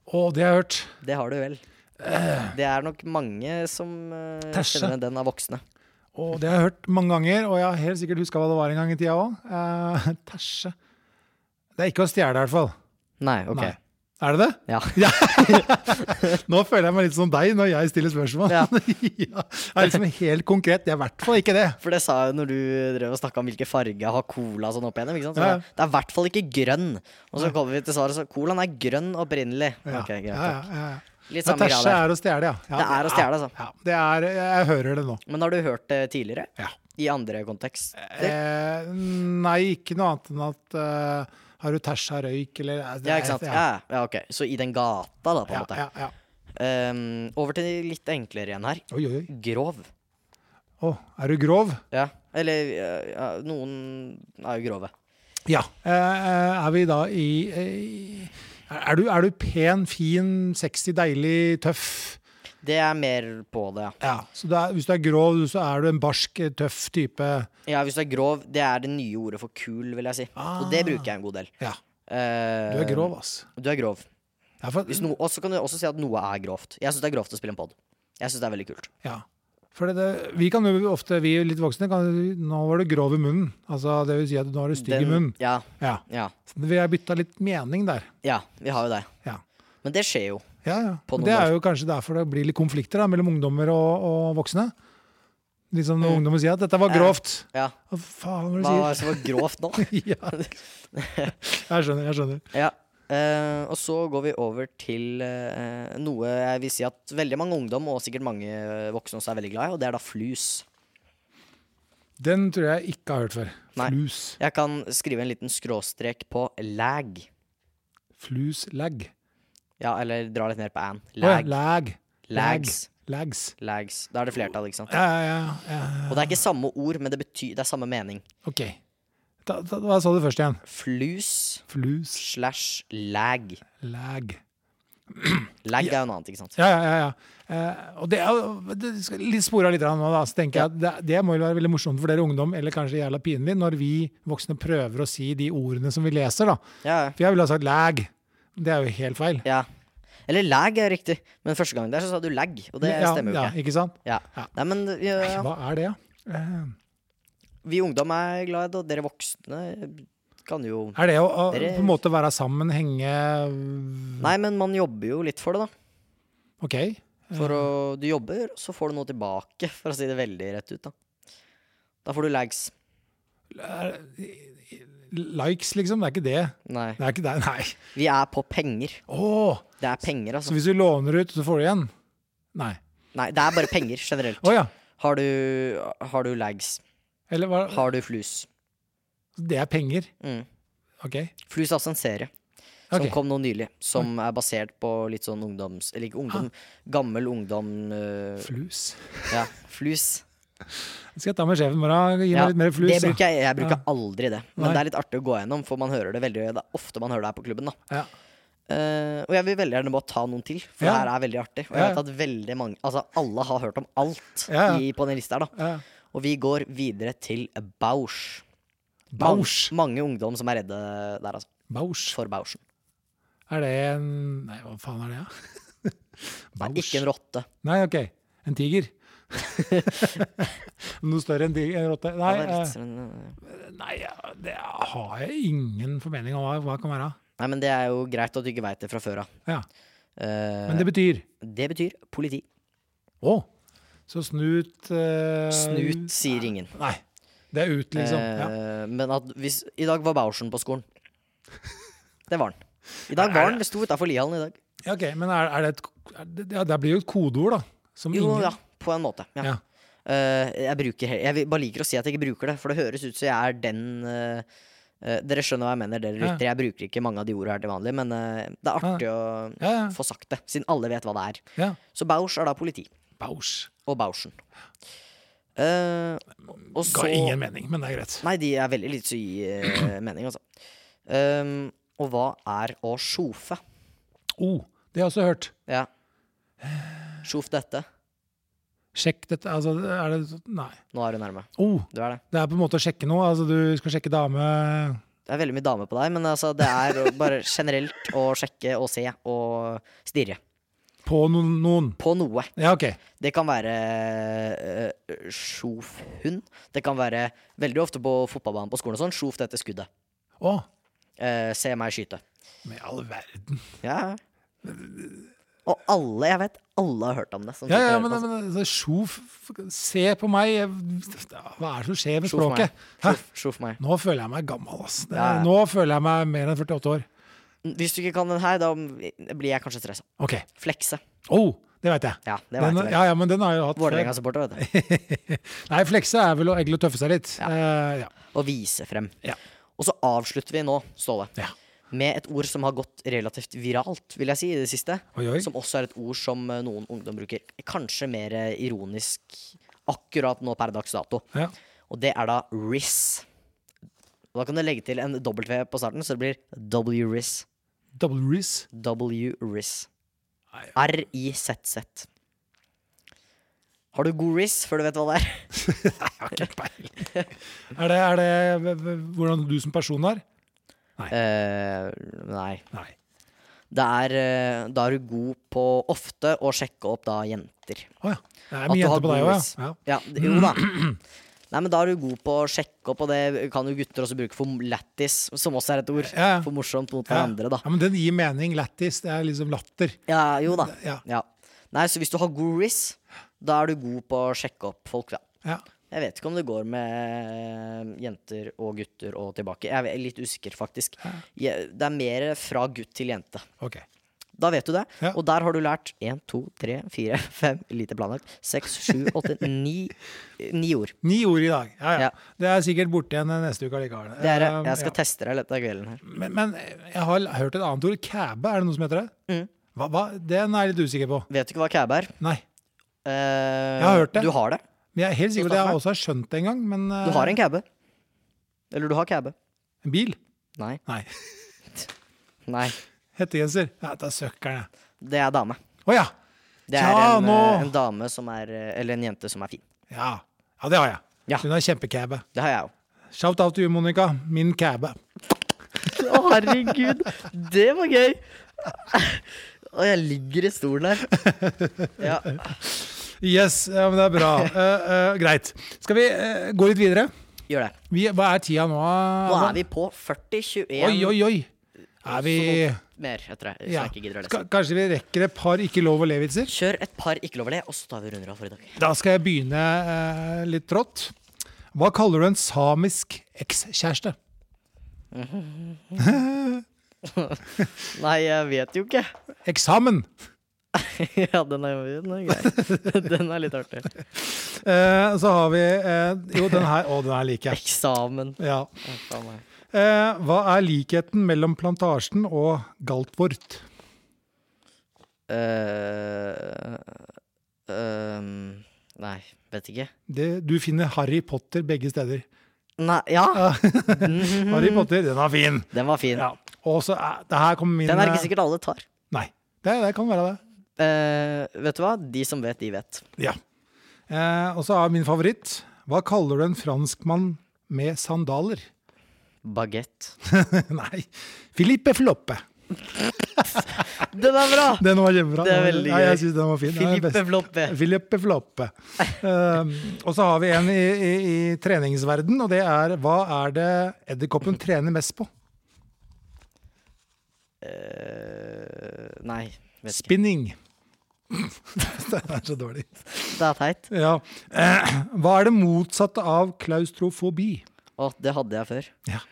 [SPEAKER 2] Å, det har jeg hørt.
[SPEAKER 1] det har du vel. Det er nok mange som eh,
[SPEAKER 2] Tæsje.
[SPEAKER 1] kjenner den av voksne.
[SPEAKER 2] Å, det har jeg hørt mange ganger, og jeg har helt sikkert huska hva det var en gang i tida òg. Eh, (laughs) tæsje. Det er ikke å stjele, i hvert fall.
[SPEAKER 1] Nei, ok.
[SPEAKER 2] Nei. Er det det? (laughs)
[SPEAKER 1] Ja.
[SPEAKER 2] Nå føler jeg meg litt som deg når jeg stiller spørsmål.
[SPEAKER 1] Ja.
[SPEAKER 2] (laughs) Ja, Det er liksom helt konkret. Det er i hvert fall ikke det.
[SPEAKER 1] For det sa jeg når du drev og snakka om hvilke farger har cola og sånn opp igjennom. Ikke sant? Så
[SPEAKER 2] Ja, ja.
[SPEAKER 1] det- Det er i hvert fall ikke grønn. Og så kommer vi til svaret, så colaen er grønn opprinnelig.
[SPEAKER 2] Ja.
[SPEAKER 1] Ok, greit.
[SPEAKER 2] ja,
[SPEAKER 1] takk.
[SPEAKER 2] ja, ja.
[SPEAKER 1] Litt
[SPEAKER 2] Ja,
[SPEAKER 1] samme greia
[SPEAKER 2] Tæsje
[SPEAKER 1] der.
[SPEAKER 2] er å stjele, ja. ja.
[SPEAKER 1] Det er å stjele, altså.
[SPEAKER 2] Ja, det er, jeg hører det nå.
[SPEAKER 1] Men har du hørt det tidligere?
[SPEAKER 2] Ja.
[SPEAKER 1] I andre kontekster?
[SPEAKER 2] Eh, nei, ikke noe annet enn at eh, har du tæsja røyk, eller
[SPEAKER 1] Ja, ikke sant?
[SPEAKER 2] Ja,
[SPEAKER 1] Ja, ja, ok. Så i den gata, da, på en
[SPEAKER 2] ja,
[SPEAKER 1] måte.
[SPEAKER 2] ja, ja.
[SPEAKER 1] Ehm, over til litt enklere igjen her.
[SPEAKER 2] Oi, oi, oi.
[SPEAKER 1] Grov.
[SPEAKER 2] Å, er du grov?
[SPEAKER 1] Ja. Eller eh, ja, noen er jo grove.
[SPEAKER 2] Ja. Eh, eh, er vi da i eh, er, du, er du pen, fin, sexy, deilig, tøff?
[SPEAKER 1] Det er mer på det, ja.
[SPEAKER 2] Ja. Så du er, hvis du er grov, så er du en barsk, eh, tøff type.
[SPEAKER 1] Ja, Hvis du er grov, det er det nye ordet for kul, vil jeg si. Og det bruker jeg en god del.
[SPEAKER 2] Ja.
[SPEAKER 1] Ehm,
[SPEAKER 2] Du er grov, ass.
[SPEAKER 1] Du er grov.
[SPEAKER 2] Ja, for,
[SPEAKER 1] Hvis no, og så kan du også si at noe er grovt. Jeg syns det er grovt å spille en pod. Jeg synes det er veldig kult.
[SPEAKER 2] ja. For det, det, vi kan jo ofte, vi litt voksne, kan, nå var du grov i munnen. Altså, det vil si at nå er du stygg i
[SPEAKER 1] Den-
[SPEAKER 2] munnen.
[SPEAKER 1] Ja,
[SPEAKER 2] Ja.
[SPEAKER 1] ja,
[SPEAKER 2] Så vi har bytta litt mening der.
[SPEAKER 1] ja, vi har jo det.
[SPEAKER 2] Ja.
[SPEAKER 1] Men det skjer jo.
[SPEAKER 2] Ja, ja.
[SPEAKER 1] På
[SPEAKER 2] Men
[SPEAKER 1] noen
[SPEAKER 2] Det
[SPEAKER 1] år.
[SPEAKER 2] er jo kanskje derfor det blir litt konflikter da, mellom ungdommer og, og voksne. Liksom når ungdommer sier at 'dette var
[SPEAKER 1] Mm. Ja.
[SPEAKER 2] grovt'.
[SPEAKER 1] Ja.
[SPEAKER 2] Hva faen var det
[SPEAKER 1] Hva
[SPEAKER 2] du
[SPEAKER 1] var det
[SPEAKER 2] sier?
[SPEAKER 1] som var grovt nå?
[SPEAKER 2] (laughs) ja. Jeg skjønner. jeg skjønner.
[SPEAKER 1] Ja. Eh, og så går vi over til eh, noe jeg vil si at veldig mange ungdom, og sikkert mange eh, voksne også, er veldig glad i, og det er da flus.
[SPEAKER 2] Den tror jeg ikke har hørt før.
[SPEAKER 1] Nei.
[SPEAKER 2] Flus.
[SPEAKER 1] Jeg kan skrive en liten skråstrek på lag.
[SPEAKER 2] Flus lag.
[SPEAKER 1] Ja, eller dra litt ned på an.
[SPEAKER 2] Å ja,
[SPEAKER 1] Lag.
[SPEAKER 2] lag.
[SPEAKER 1] Lags.
[SPEAKER 2] Lags.
[SPEAKER 1] Lags. Da er det flertall, ikke sant.
[SPEAKER 2] Ja, ja, ja, ja.
[SPEAKER 1] Og det er ikke samme ord, men det, betyr, det er samme mening.
[SPEAKER 2] OK. Da, da, hva sa du først igjen?
[SPEAKER 1] Flus
[SPEAKER 2] Flus.
[SPEAKER 1] slash lag.
[SPEAKER 2] Lag.
[SPEAKER 1] Lag er jo noe annet, ikke sant.
[SPEAKER 2] Ja, ja, ja. ja. Eh, og det, er jo- det skal litt spora litt grann nå, da. Så tenker jeg at det, det må jo være veldig morsomt for dere ungdom, eller kanskje jævla pinlig, når vi voksne prøver å si de ordene som vi leser, da.
[SPEAKER 1] Ja, ja.
[SPEAKER 2] For jeg ville ha sagt lag. Det er jo helt feil.
[SPEAKER 1] ja. Eller lag er riktig, men første gang der så sa du lag, og det
[SPEAKER 2] ja,
[SPEAKER 1] stemmer jo
[SPEAKER 2] ja,
[SPEAKER 1] ikke.
[SPEAKER 2] ikke sant?
[SPEAKER 1] Ja. Nei, men ja,
[SPEAKER 2] Hva er det, da? Eh,
[SPEAKER 1] vi ungdom er glad i det, og dere voksne kan jo
[SPEAKER 2] Er det å, å
[SPEAKER 1] Dere-
[SPEAKER 2] på en måte være sammen, henge
[SPEAKER 1] Nei, men man jobber jo litt for det, da.
[SPEAKER 2] OK?
[SPEAKER 1] For å, du jobber, og så får du noe tilbake, for å si det veldig rett ut, da. Da får du lags.
[SPEAKER 2] Likes, liksom. Det er ikke det.
[SPEAKER 1] Nei.
[SPEAKER 2] Det er ikke det, (laughs) nei.
[SPEAKER 1] Vi er på penger.
[SPEAKER 2] Åh,
[SPEAKER 1] Det er penger,
[SPEAKER 2] så
[SPEAKER 1] altså.
[SPEAKER 2] hvis du låner ut, så får du igjen? Nei.
[SPEAKER 1] Nei, det er bare penger generelt.
[SPEAKER 2] Å ja.
[SPEAKER 1] Har du, har du lags?
[SPEAKER 2] Eller hva?
[SPEAKER 1] Har du flus?
[SPEAKER 2] Det er penger.
[SPEAKER 1] Mm.
[SPEAKER 2] OK.
[SPEAKER 1] Flus er altså en serie som
[SPEAKER 2] Ok.
[SPEAKER 1] kom nå nylig, som er basert på litt sånn ungdoms... Eller ikke ungdom, gammel ungdom øh,
[SPEAKER 2] Flus.
[SPEAKER 1] Ja, flus.
[SPEAKER 2] Det skal jeg ta med sjefen i morgen. Gi meg
[SPEAKER 1] Ja,
[SPEAKER 2] litt mer flus.
[SPEAKER 1] det
[SPEAKER 2] da.
[SPEAKER 1] bruker jeg, jeg bruker
[SPEAKER 2] Ja.
[SPEAKER 1] aldri det, men
[SPEAKER 2] Nei.
[SPEAKER 1] det er litt artig å gå gjennom, for man hører det veldig Det er ofte man hører det her på klubben, da.
[SPEAKER 2] Ja.
[SPEAKER 1] Eh, og jeg vil veldig gjerne bare ta noen til, for
[SPEAKER 2] Ja.
[SPEAKER 1] det her er veldig artig. Og jeg
[SPEAKER 2] Ja, ja.
[SPEAKER 1] vet at veldig mange Altså, alle har hørt om alt
[SPEAKER 2] Ja, ja.
[SPEAKER 1] i, på den lista her, da.
[SPEAKER 2] Ja.
[SPEAKER 1] Og vi går videre til Bausch.
[SPEAKER 2] Bausch.
[SPEAKER 1] Mange, mange ungdom som er redde der, altså.
[SPEAKER 2] Bausch.
[SPEAKER 1] For Bauschen.
[SPEAKER 2] Er det en Nei, hva faen er det, da? (laughs)
[SPEAKER 1] Nei, ikke en rotte.
[SPEAKER 2] Nei, OK.
[SPEAKER 1] (laughs)
[SPEAKER 2] En tiger. Noe større enn tiger, en rotte? Nei,
[SPEAKER 1] Ja, det er
[SPEAKER 2] eh,
[SPEAKER 1] litt sånn, eh,
[SPEAKER 2] nei, eh, det har jeg ingen formening om hva, hva det kan være.
[SPEAKER 1] Nei, men det er jo greit at du ikke veit det fra før av.
[SPEAKER 2] Ja.
[SPEAKER 1] Eh,
[SPEAKER 2] Men det betyr
[SPEAKER 1] det betyr politi.
[SPEAKER 2] Å! Så snut eh,
[SPEAKER 1] Snut, sier ingen.
[SPEAKER 2] Nei. Det er ut, liksom. Ja.
[SPEAKER 1] Eh, men at hvis I dag var Bauschen på skolen. Det var han. I dag var han. Det sto utafor Lihallen i dag.
[SPEAKER 2] Ja, OK. Men er, er det et er det, ja, det blir jo et kodeord, da. Som
[SPEAKER 1] Jo,
[SPEAKER 2] ingen
[SPEAKER 1] ja, på en måte. Ja.
[SPEAKER 2] Ja.
[SPEAKER 1] Eh, jeg, bruker, he- jeg vil- bare liker å si at jeg ikke bruker det, for det høres ut som jeg er den eh, eh, Dere skjønner hva jeg mener, dere
[SPEAKER 2] Ja.
[SPEAKER 1] lyttere. Jeg bruker ikke mange av de ordene her til vanlig, men eh, det er artig å
[SPEAKER 2] Ja, ja.
[SPEAKER 1] få sagt det, siden alle vet hva det er.
[SPEAKER 2] ja.
[SPEAKER 1] Så Bausch er da politi,
[SPEAKER 2] Bausch.
[SPEAKER 1] og Bauschen. Eh, og
[SPEAKER 2] Ga
[SPEAKER 1] så
[SPEAKER 2] ingen mening, men det er greit.
[SPEAKER 1] Nei, de er veldig lite til å gi eh, (clears throat) mening, altså. Um, og hva er å sjofe?
[SPEAKER 2] Oh, det har jeg også hørt.
[SPEAKER 1] Ja. Sjof dette.
[SPEAKER 2] Sjekk dette Altså, er det Nei.
[SPEAKER 1] Nå er du nærme.
[SPEAKER 2] Oh,
[SPEAKER 1] Du er det.
[SPEAKER 2] det er på en måte å sjekke noe. Altså, du skal sjekke dame
[SPEAKER 1] Det er veldig mye dame på deg, men altså, det er å- bare generelt å sjekke og se og stirre
[SPEAKER 2] på noen, noen.
[SPEAKER 1] på noe.
[SPEAKER 2] Ja, OK.
[SPEAKER 1] Det kan være uh, sjofhund. Det kan være veldig ofte på fotballbanen på skolen og sånn. Sjof dette skuddet.
[SPEAKER 2] Å,
[SPEAKER 1] Eh, se meg skyte.
[SPEAKER 2] med all verden.
[SPEAKER 1] Ja. Og alle, jeg vet, alle har hørt om det. som
[SPEAKER 2] Ja,
[SPEAKER 1] sitter og
[SPEAKER 2] ja,
[SPEAKER 1] hører
[SPEAKER 2] men,
[SPEAKER 1] på oss.
[SPEAKER 2] men altså, sjof Se på meg. jeg- Hva er det som skjer med
[SPEAKER 1] Sjof meg.
[SPEAKER 2] språket? Hæ?
[SPEAKER 1] Sjof- Sjof meg.
[SPEAKER 2] Nå føler jeg meg gammel, ass. Det,
[SPEAKER 1] Ja, ja.
[SPEAKER 2] Nå føler jeg meg mer enn 48 år.
[SPEAKER 1] Hvis du ikke kan den her, da blir jeg kanskje stressa.
[SPEAKER 2] OK.
[SPEAKER 1] Flekse.
[SPEAKER 2] Oh, det veit jeg.
[SPEAKER 1] Ja, det
[SPEAKER 2] Den,
[SPEAKER 1] veit du vel.
[SPEAKER 2] ja, ja, men den har jeg jo hatt før.
[SPEAKER 1] Vålerenga-supporter, vet du.
[SPEAKER 2] (laughs) Nei, flekse er vel å egle og tøffe seg litt. Eh, ja.
[SPEAKER 1] Å vise frem.
[SPEAKER 2] Ja.
[SPEAKER 1] Og så avslutter vi nå, Ståle,
[SPEAKER 2] Ja.
[SPEAKER 1] med et ord som har gått relativt viralt, vil jeg si, i det siste.
[SPEAKER 2] Oi, oi.
[SPEAKER 1] Som også er et ord som eh, noen ungdom bruker. Kanskje mer eh, ironisk akkurat nå per dags dato.
[SPEAKER 2] ja.
[SPEAKER 1] Og det er da RIS. Og da kan du legge til en W på starten, så det blir W-RIS.
[SPEAKER 2] Double Reese.
[SPEAKER 1] W-RIS.
[SPEAKER 2] Nei.
[SPEAKER 1] R-I-Z-Z. Har du god RIS før du vet hva det
[SPEAKER 2] (laughs)
[SPEAKER 1] er?
[SPEAKER 2] Jeg har ikke peiling. Er det, er det v- v- hvordan du som person er?
[SPEAKER 1] Eh, nei.
[SPEAKER 2] Nei.
[SPEAKER 1] Det er, eh, da er du god på ofte å sjekke opp da jenter.
[SPEAKER 2] Å ja. Det er
[SPEAKER 1] At
[SPEAKER 2] mye
[SPEAKER 1] du har
[SPEAKER 2] jenter på
[SPEAKER 1] god
[SPEAKER 2] deg òg,
[SPEAKER 1] ris.
[SPEAKER 2] ja. ja.
[SPEAKER 1] Ja, d- jo da.
[SPEAKER 2] (clears throat)
[SPEAKER 1] Nei, men da er du god på å sjekke opp, og det kan jo gutter også bruke for lættis, som også er et ord.
[SPEAKER 2] Ja, ja.
[SPEAKER 1] For morsomt mot
[SPEAKER 2] Ja.
[SPEAKER 1] hverandre, da.
[SPEAKER 2] ja, men den gir mening. Lættis. Det er liksom latter.
[SPEAKER 1] Ja, jo da.
[SPEAKER 2] Ja.
[SPEAKER 1] Ja. Nei, så hvis du har god riss, da er du god på å sjekke opp folk, da.
[SPEAKER 2] Ja.
[SPEAKER 1] Jeg vet ikke om det går med eh, jenter og gutter og tilbake. Jeg er litt usikker, faktisk. Jeg, det er mer fra gutt til jente.
[SPEAKER 2] OK.
[SPEAKER 1] Da vet du det.
[SPEAKER 2] Ja.
[SPEAKER 1] Og der har du lært 1, 2, 3, (laughs) 4, 5, lite planlagt, 6, 7,
[SPEAKER 2] (laughs)
[SPEAKER 1] 8, 9 Ni ord.
[SPEAKER 2] Ni ord i dag. Ja, ja.
[SPEAKER 1] Ja.
[SPEAKER 2] Det er sikkert borte igjen neste uke allikevel.
[SPEAKER 1] Det er, det.
[SPEAKER 2] Eh,
[SPEAKER 1] jeg skal
[SPEAKER 2] ja.
[SPEAKER 1] teste deg litt av kvelden her. Mm.
[SPEAKER 2] men, men jeg har hørt et annet ord. Kæbe, er det noe som heter det? Hva, hva? Den er jeg litt usikker på.
[SPEAKER 1] Vet du ikke hva cab er?
[SPEAKER 2] Nei.
[SPEAKER 1] Eh,
[SPEAKER 2] har hørt det.
[SPEAKER 1] Du har det.
[SPEAKER 2] Men jeg er helt sikker på at
[SPEAKER 1] Snakk
[SPEAKER 2] jeg
[SPEAKER 1] meg.
[SPEAKER 2] også har skjønt det en gang. Men eh,
[SPEAKER 1] Du har en cabbe. Eller du har cabbe.
[SPEAKER 2] en bil?
[SPEAKER 1] Nei.
[SPEAKER 2] Nei. (laughs)
[SPEAKER 1] Nei.
[SPEAKER 2] Hettegenser? Nei, det er søkkeren, jeg.
[SPEAKER 1] Det er dame.
[SPEAKER 2] Å ja.
[SPEAKER 1] Det er
[SPEAKER 2] Ja,
[SPEAKER 1] en,
[SPEAKER 2] nå.
[SPEAKER 1] eh, en dame som er eh, Eller en jente som er fin.
[SPEAKER 2] ja! Ja, det har jeg.
[SPEAKER 1] Ja.
[SPEAKER 2] Hun er kjempecabbe.
[SPEAKER 1] Det har jeg òg.
[SPEAKER 2] Shout out til you, Monica. Min cabbe.
[SPEAKER 1] Å, herregud. Det var gøy. Og jeg ligger i stolen her. Ja.
[SPEAKER 2] Yes, ja, men det er
[SPEAKER 1] (laughs)
[SPEAKER 2] bra. Eh, eh, greit. Skal vi eh, gå litt videre?
[SPEAKER 1] Gjør det.
[SPEAKER 2] Vi, hva er tida nå?
[SPEAKER 1] Nå er vi på 40-21
[SPEAKER 2] Oi, oi, oi! Er vi
[SPEAKER 1] mer etter det. Hvis
[SPEAKER 2] ja.
[SPEAKER 1] jeg ikke gidder å lese.
[SPEAKER 2] Ka- Kanskje vi rekker et par ikke lov å le-vitser?
[SPEAKER 1] Kjør et par ikke lov å le, og så tar vi runder av for i dag.
[SPEAKER 2] Da skal jeg begynne eh, litt trått. Hva kaller du en samisk ekskjæreste?
[SPEAKER 1] Nei, jeg vet jo ikke. (laughs)
[SPEAKER 2] Eksamen!
[SPEAKER 1] ja, den er, den er grei. (laughs) Den er litt artig.
[SPEAKER 2] Eh, så har vi eh, Jo, den her. Å, den her liker jeg.
[SPEAKER 1] Eksamen.
[SPEAKER 2] Ja.
[SPEAKER 1] Å, faen meg.
[SPEAKER 2] Eh, hva er likheten mellom plantasjen og Galtvort?
[SPEAKER 1] Eh, ehm, nei, vet ikke.
[SPEAKER 2] Det, du finner Harry Potter begge steder.
[SPEAKER 1] Nei, ja, Mhm.
[SPEAKER 2] Harry Potter, den er fin!
[SPEAKER 1] den var fin.
[SPEAKER 2] Ja. Og så er Det her kommer min
[SPEAKER 1] Den er ikke
[SPEAKER 2] eh,
[SPEAKER 1] sikkert alle tar.
[SPEAKER 2] Nei. Det, det kan være det.
[SPEAKER 1] Eh, vet du hva? De som vet, de vet.
[SPEAKER 2] Ja. Eh, og så er min favoritt Hva kaller du en franskmann med sandaler? (laughs)
[SPEAKER 1] Bagett.
[SPEAKER 2] Nei. Filippe Floppe.
[SPEAKER 1] Den er bra!
[SPEAKER 2] Den var kjempebra.
[SPEAKER 1] Det er veldig
[SPEAKER 2] Nei, jeg
[SPEAKER 1] gøy.
[SPEAKER 2] synes den var fin. Den er den
[SPEAKER 1] Filippe
[SPEAKER 2] beste.
[SPEAKER 1] Floppe.
[SPEAKER 2] Filippe Floppe. Um, og så har vi en i, i, i treningsverden, og det er hva er det edderkoppen trener mest på?
[SPEAKER 1] Eh, nei, vet ikke.
[SPEAKER 2] Spinning. (laughs) den er så dårlig.
[SPEAKER 1] Det er teit.
[SPEAKER 2] Ja. Eh, hva er det motsatte av klaustrofobi?
[SPEAKER 1] Å, det hadde jeg før.
[SPEAKER 2] Ja.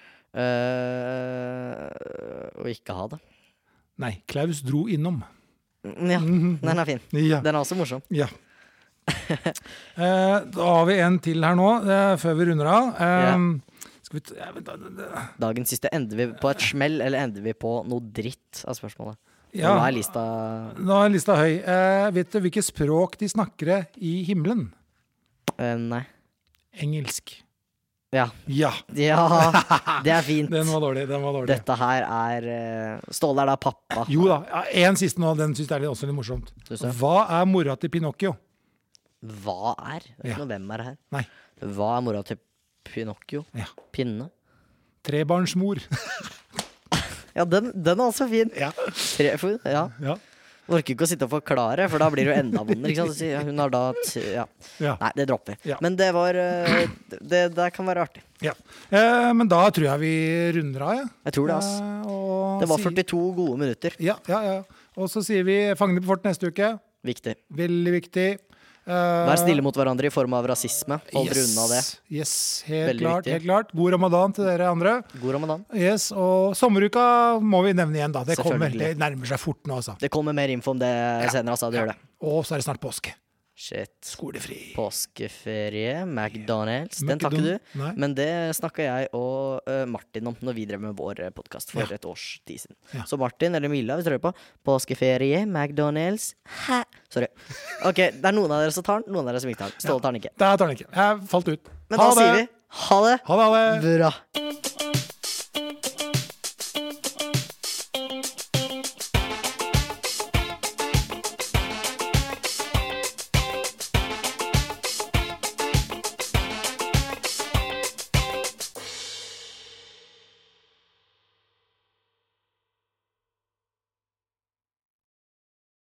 [SPEAKER 1] Eh, å ikke ha det.
[SPEAKER 2] Nei, Klaus dro innom.
[SPEAKER 1] Mm,
[SPEAKER 2] (laughs)
[SPEAKER 1] Ja, den er fin.
[SPEAKER 2] Ja.
[SPEAKER 1] Den er også morsom.
[SPEAKER 2] ja. Eh, da har vi en til her nå, eh, før vi runder av. Um, skal vi t ja, vent da, da- da-
[SPEAKER 1] Dagens siste. Ender vi på et smell, eller ender vi på noe dritt, er spørsmålet.
[SPEAKER 2] Ja.
[SPEAKER 1] Nå er lista
[SPEAKER 2] Nå er lista høy. Eh, vet du hvilket språk de snakker i himmelen?
[SPEAKER 1] eh, Nei.
[SPEAKER 2] Engelsk.
[SPEAKER 1] Ja.
[SPEAKER 2] Ja. (laughs)
[SPEAKER 1] Ja, det er fint.
[SPEAKER 2] Den var dårlig. den var dårlig.
[SPEAKER 1] Dette her er eh, Ståle er da pappa.
[SPEAKER 2] Jo da. ja, En siste nå. Den syns jeg er litt- også litt morsomt.
[SPEAKER 1] Synes jeg.
[SPEAKER 2] Hva er mora til Pinocchio?
[SPEAKER 1] Hva er? Det er
[SPEAKER 2] Ja.
[SPEAKER 1] ikke noe hvem er her.
[SPEAKER 2] Nei.
[SPEAKER 1] Hva er mora til Pinocchio?
[SPEAKER 2] Ja.
[SPEAKER 1] Pinne?
[SPEAKER 2] Trebarnsmor.
[SPEAKER 1] Ja, den, den er også fin.
[SPEAKER 2] Ja.
[SPEAKER 1] Tre, for, ja.
[SPEAKER 2] (laughs) Ja.
[SPEAKER 1] Orker ikke å sitte og forklare, for da blir det jo enda vondere. Ikke sant? Så sier jeg, Hun har da t ja.
[SPEAKER 2] ja.
[SPEAKER 1] Nei, det dropper vi.
[SPEAKER 2] Ja.
[SPEAKER 1] Men det var eh, det, det kan være artig.
[SPEAKER 2] ja. Eh, men da tror jeg vi runder av, jeg.
[SPEAKER 1] Jeg tror det, ass.
[SPEAKER 2] Eh, og
[SPEAKER 1] Det var
[SPEAKER 2] sier-
[SPEAKER 1] 42 gode minutter.
[SPEAKER 2] Ja, ja, ja. Og så sier vi 'Fangene på fortet' neste uke.
[SPEAKER 1] Viktig.
[SPEAKER 2] Veldig viktig. Eh,
[SPEAKER 1] Vær snille mot hverandre i form av rasisme. Hold dere unna det.
[SPEAKER 2] Yes, helt
[SPEAKER 1] Veldig
[SPEAKER 2] klart,
[SPEAKER 1] viktig.
[SPEAKER 2] helt klart. God ramadan til dere andre.
[SPEAKER 1] God ramadan.
[SPEAKER 2] Yes, og sommeruka må vi nevne igjen, da. Det kommer,
[SPEAKER 1] Selvfølgelig.
[SPEAKER 2] det nærmer seg fort nå, altså.
[SPEAKER 1] Det kommer mer info om det senere, altså. Det gjør det.
[SPEAKER 2] Og så er det snart påske.
[SPEAKER 1] Shit.
[SPEAKER 2] Skolefri.
[SPEAKER 1] Påskeferie, McDonald's. Den takker du.
[SPEAKER 2] McDonald's, nei.
[SPEAKER 1] Men det snakka jeg og eh, Martin om når vi drev med vår podkast for et års tid siden. Så Martin, eller Milla, hvis du hører på, påskeferie, McDonald's Hæ? Sorry. Ok, det er noen av dere som tar den, noen av dere som ikke tar den. Ståle tar den ikke.
[SPEAKER 2] Der tar den ikke. Jeg falt ut.
[SPEAKER 1] Men da sier vi ha det
[SPEAKER 2] Ha det, ha det.
[SPEAKER 1] bra.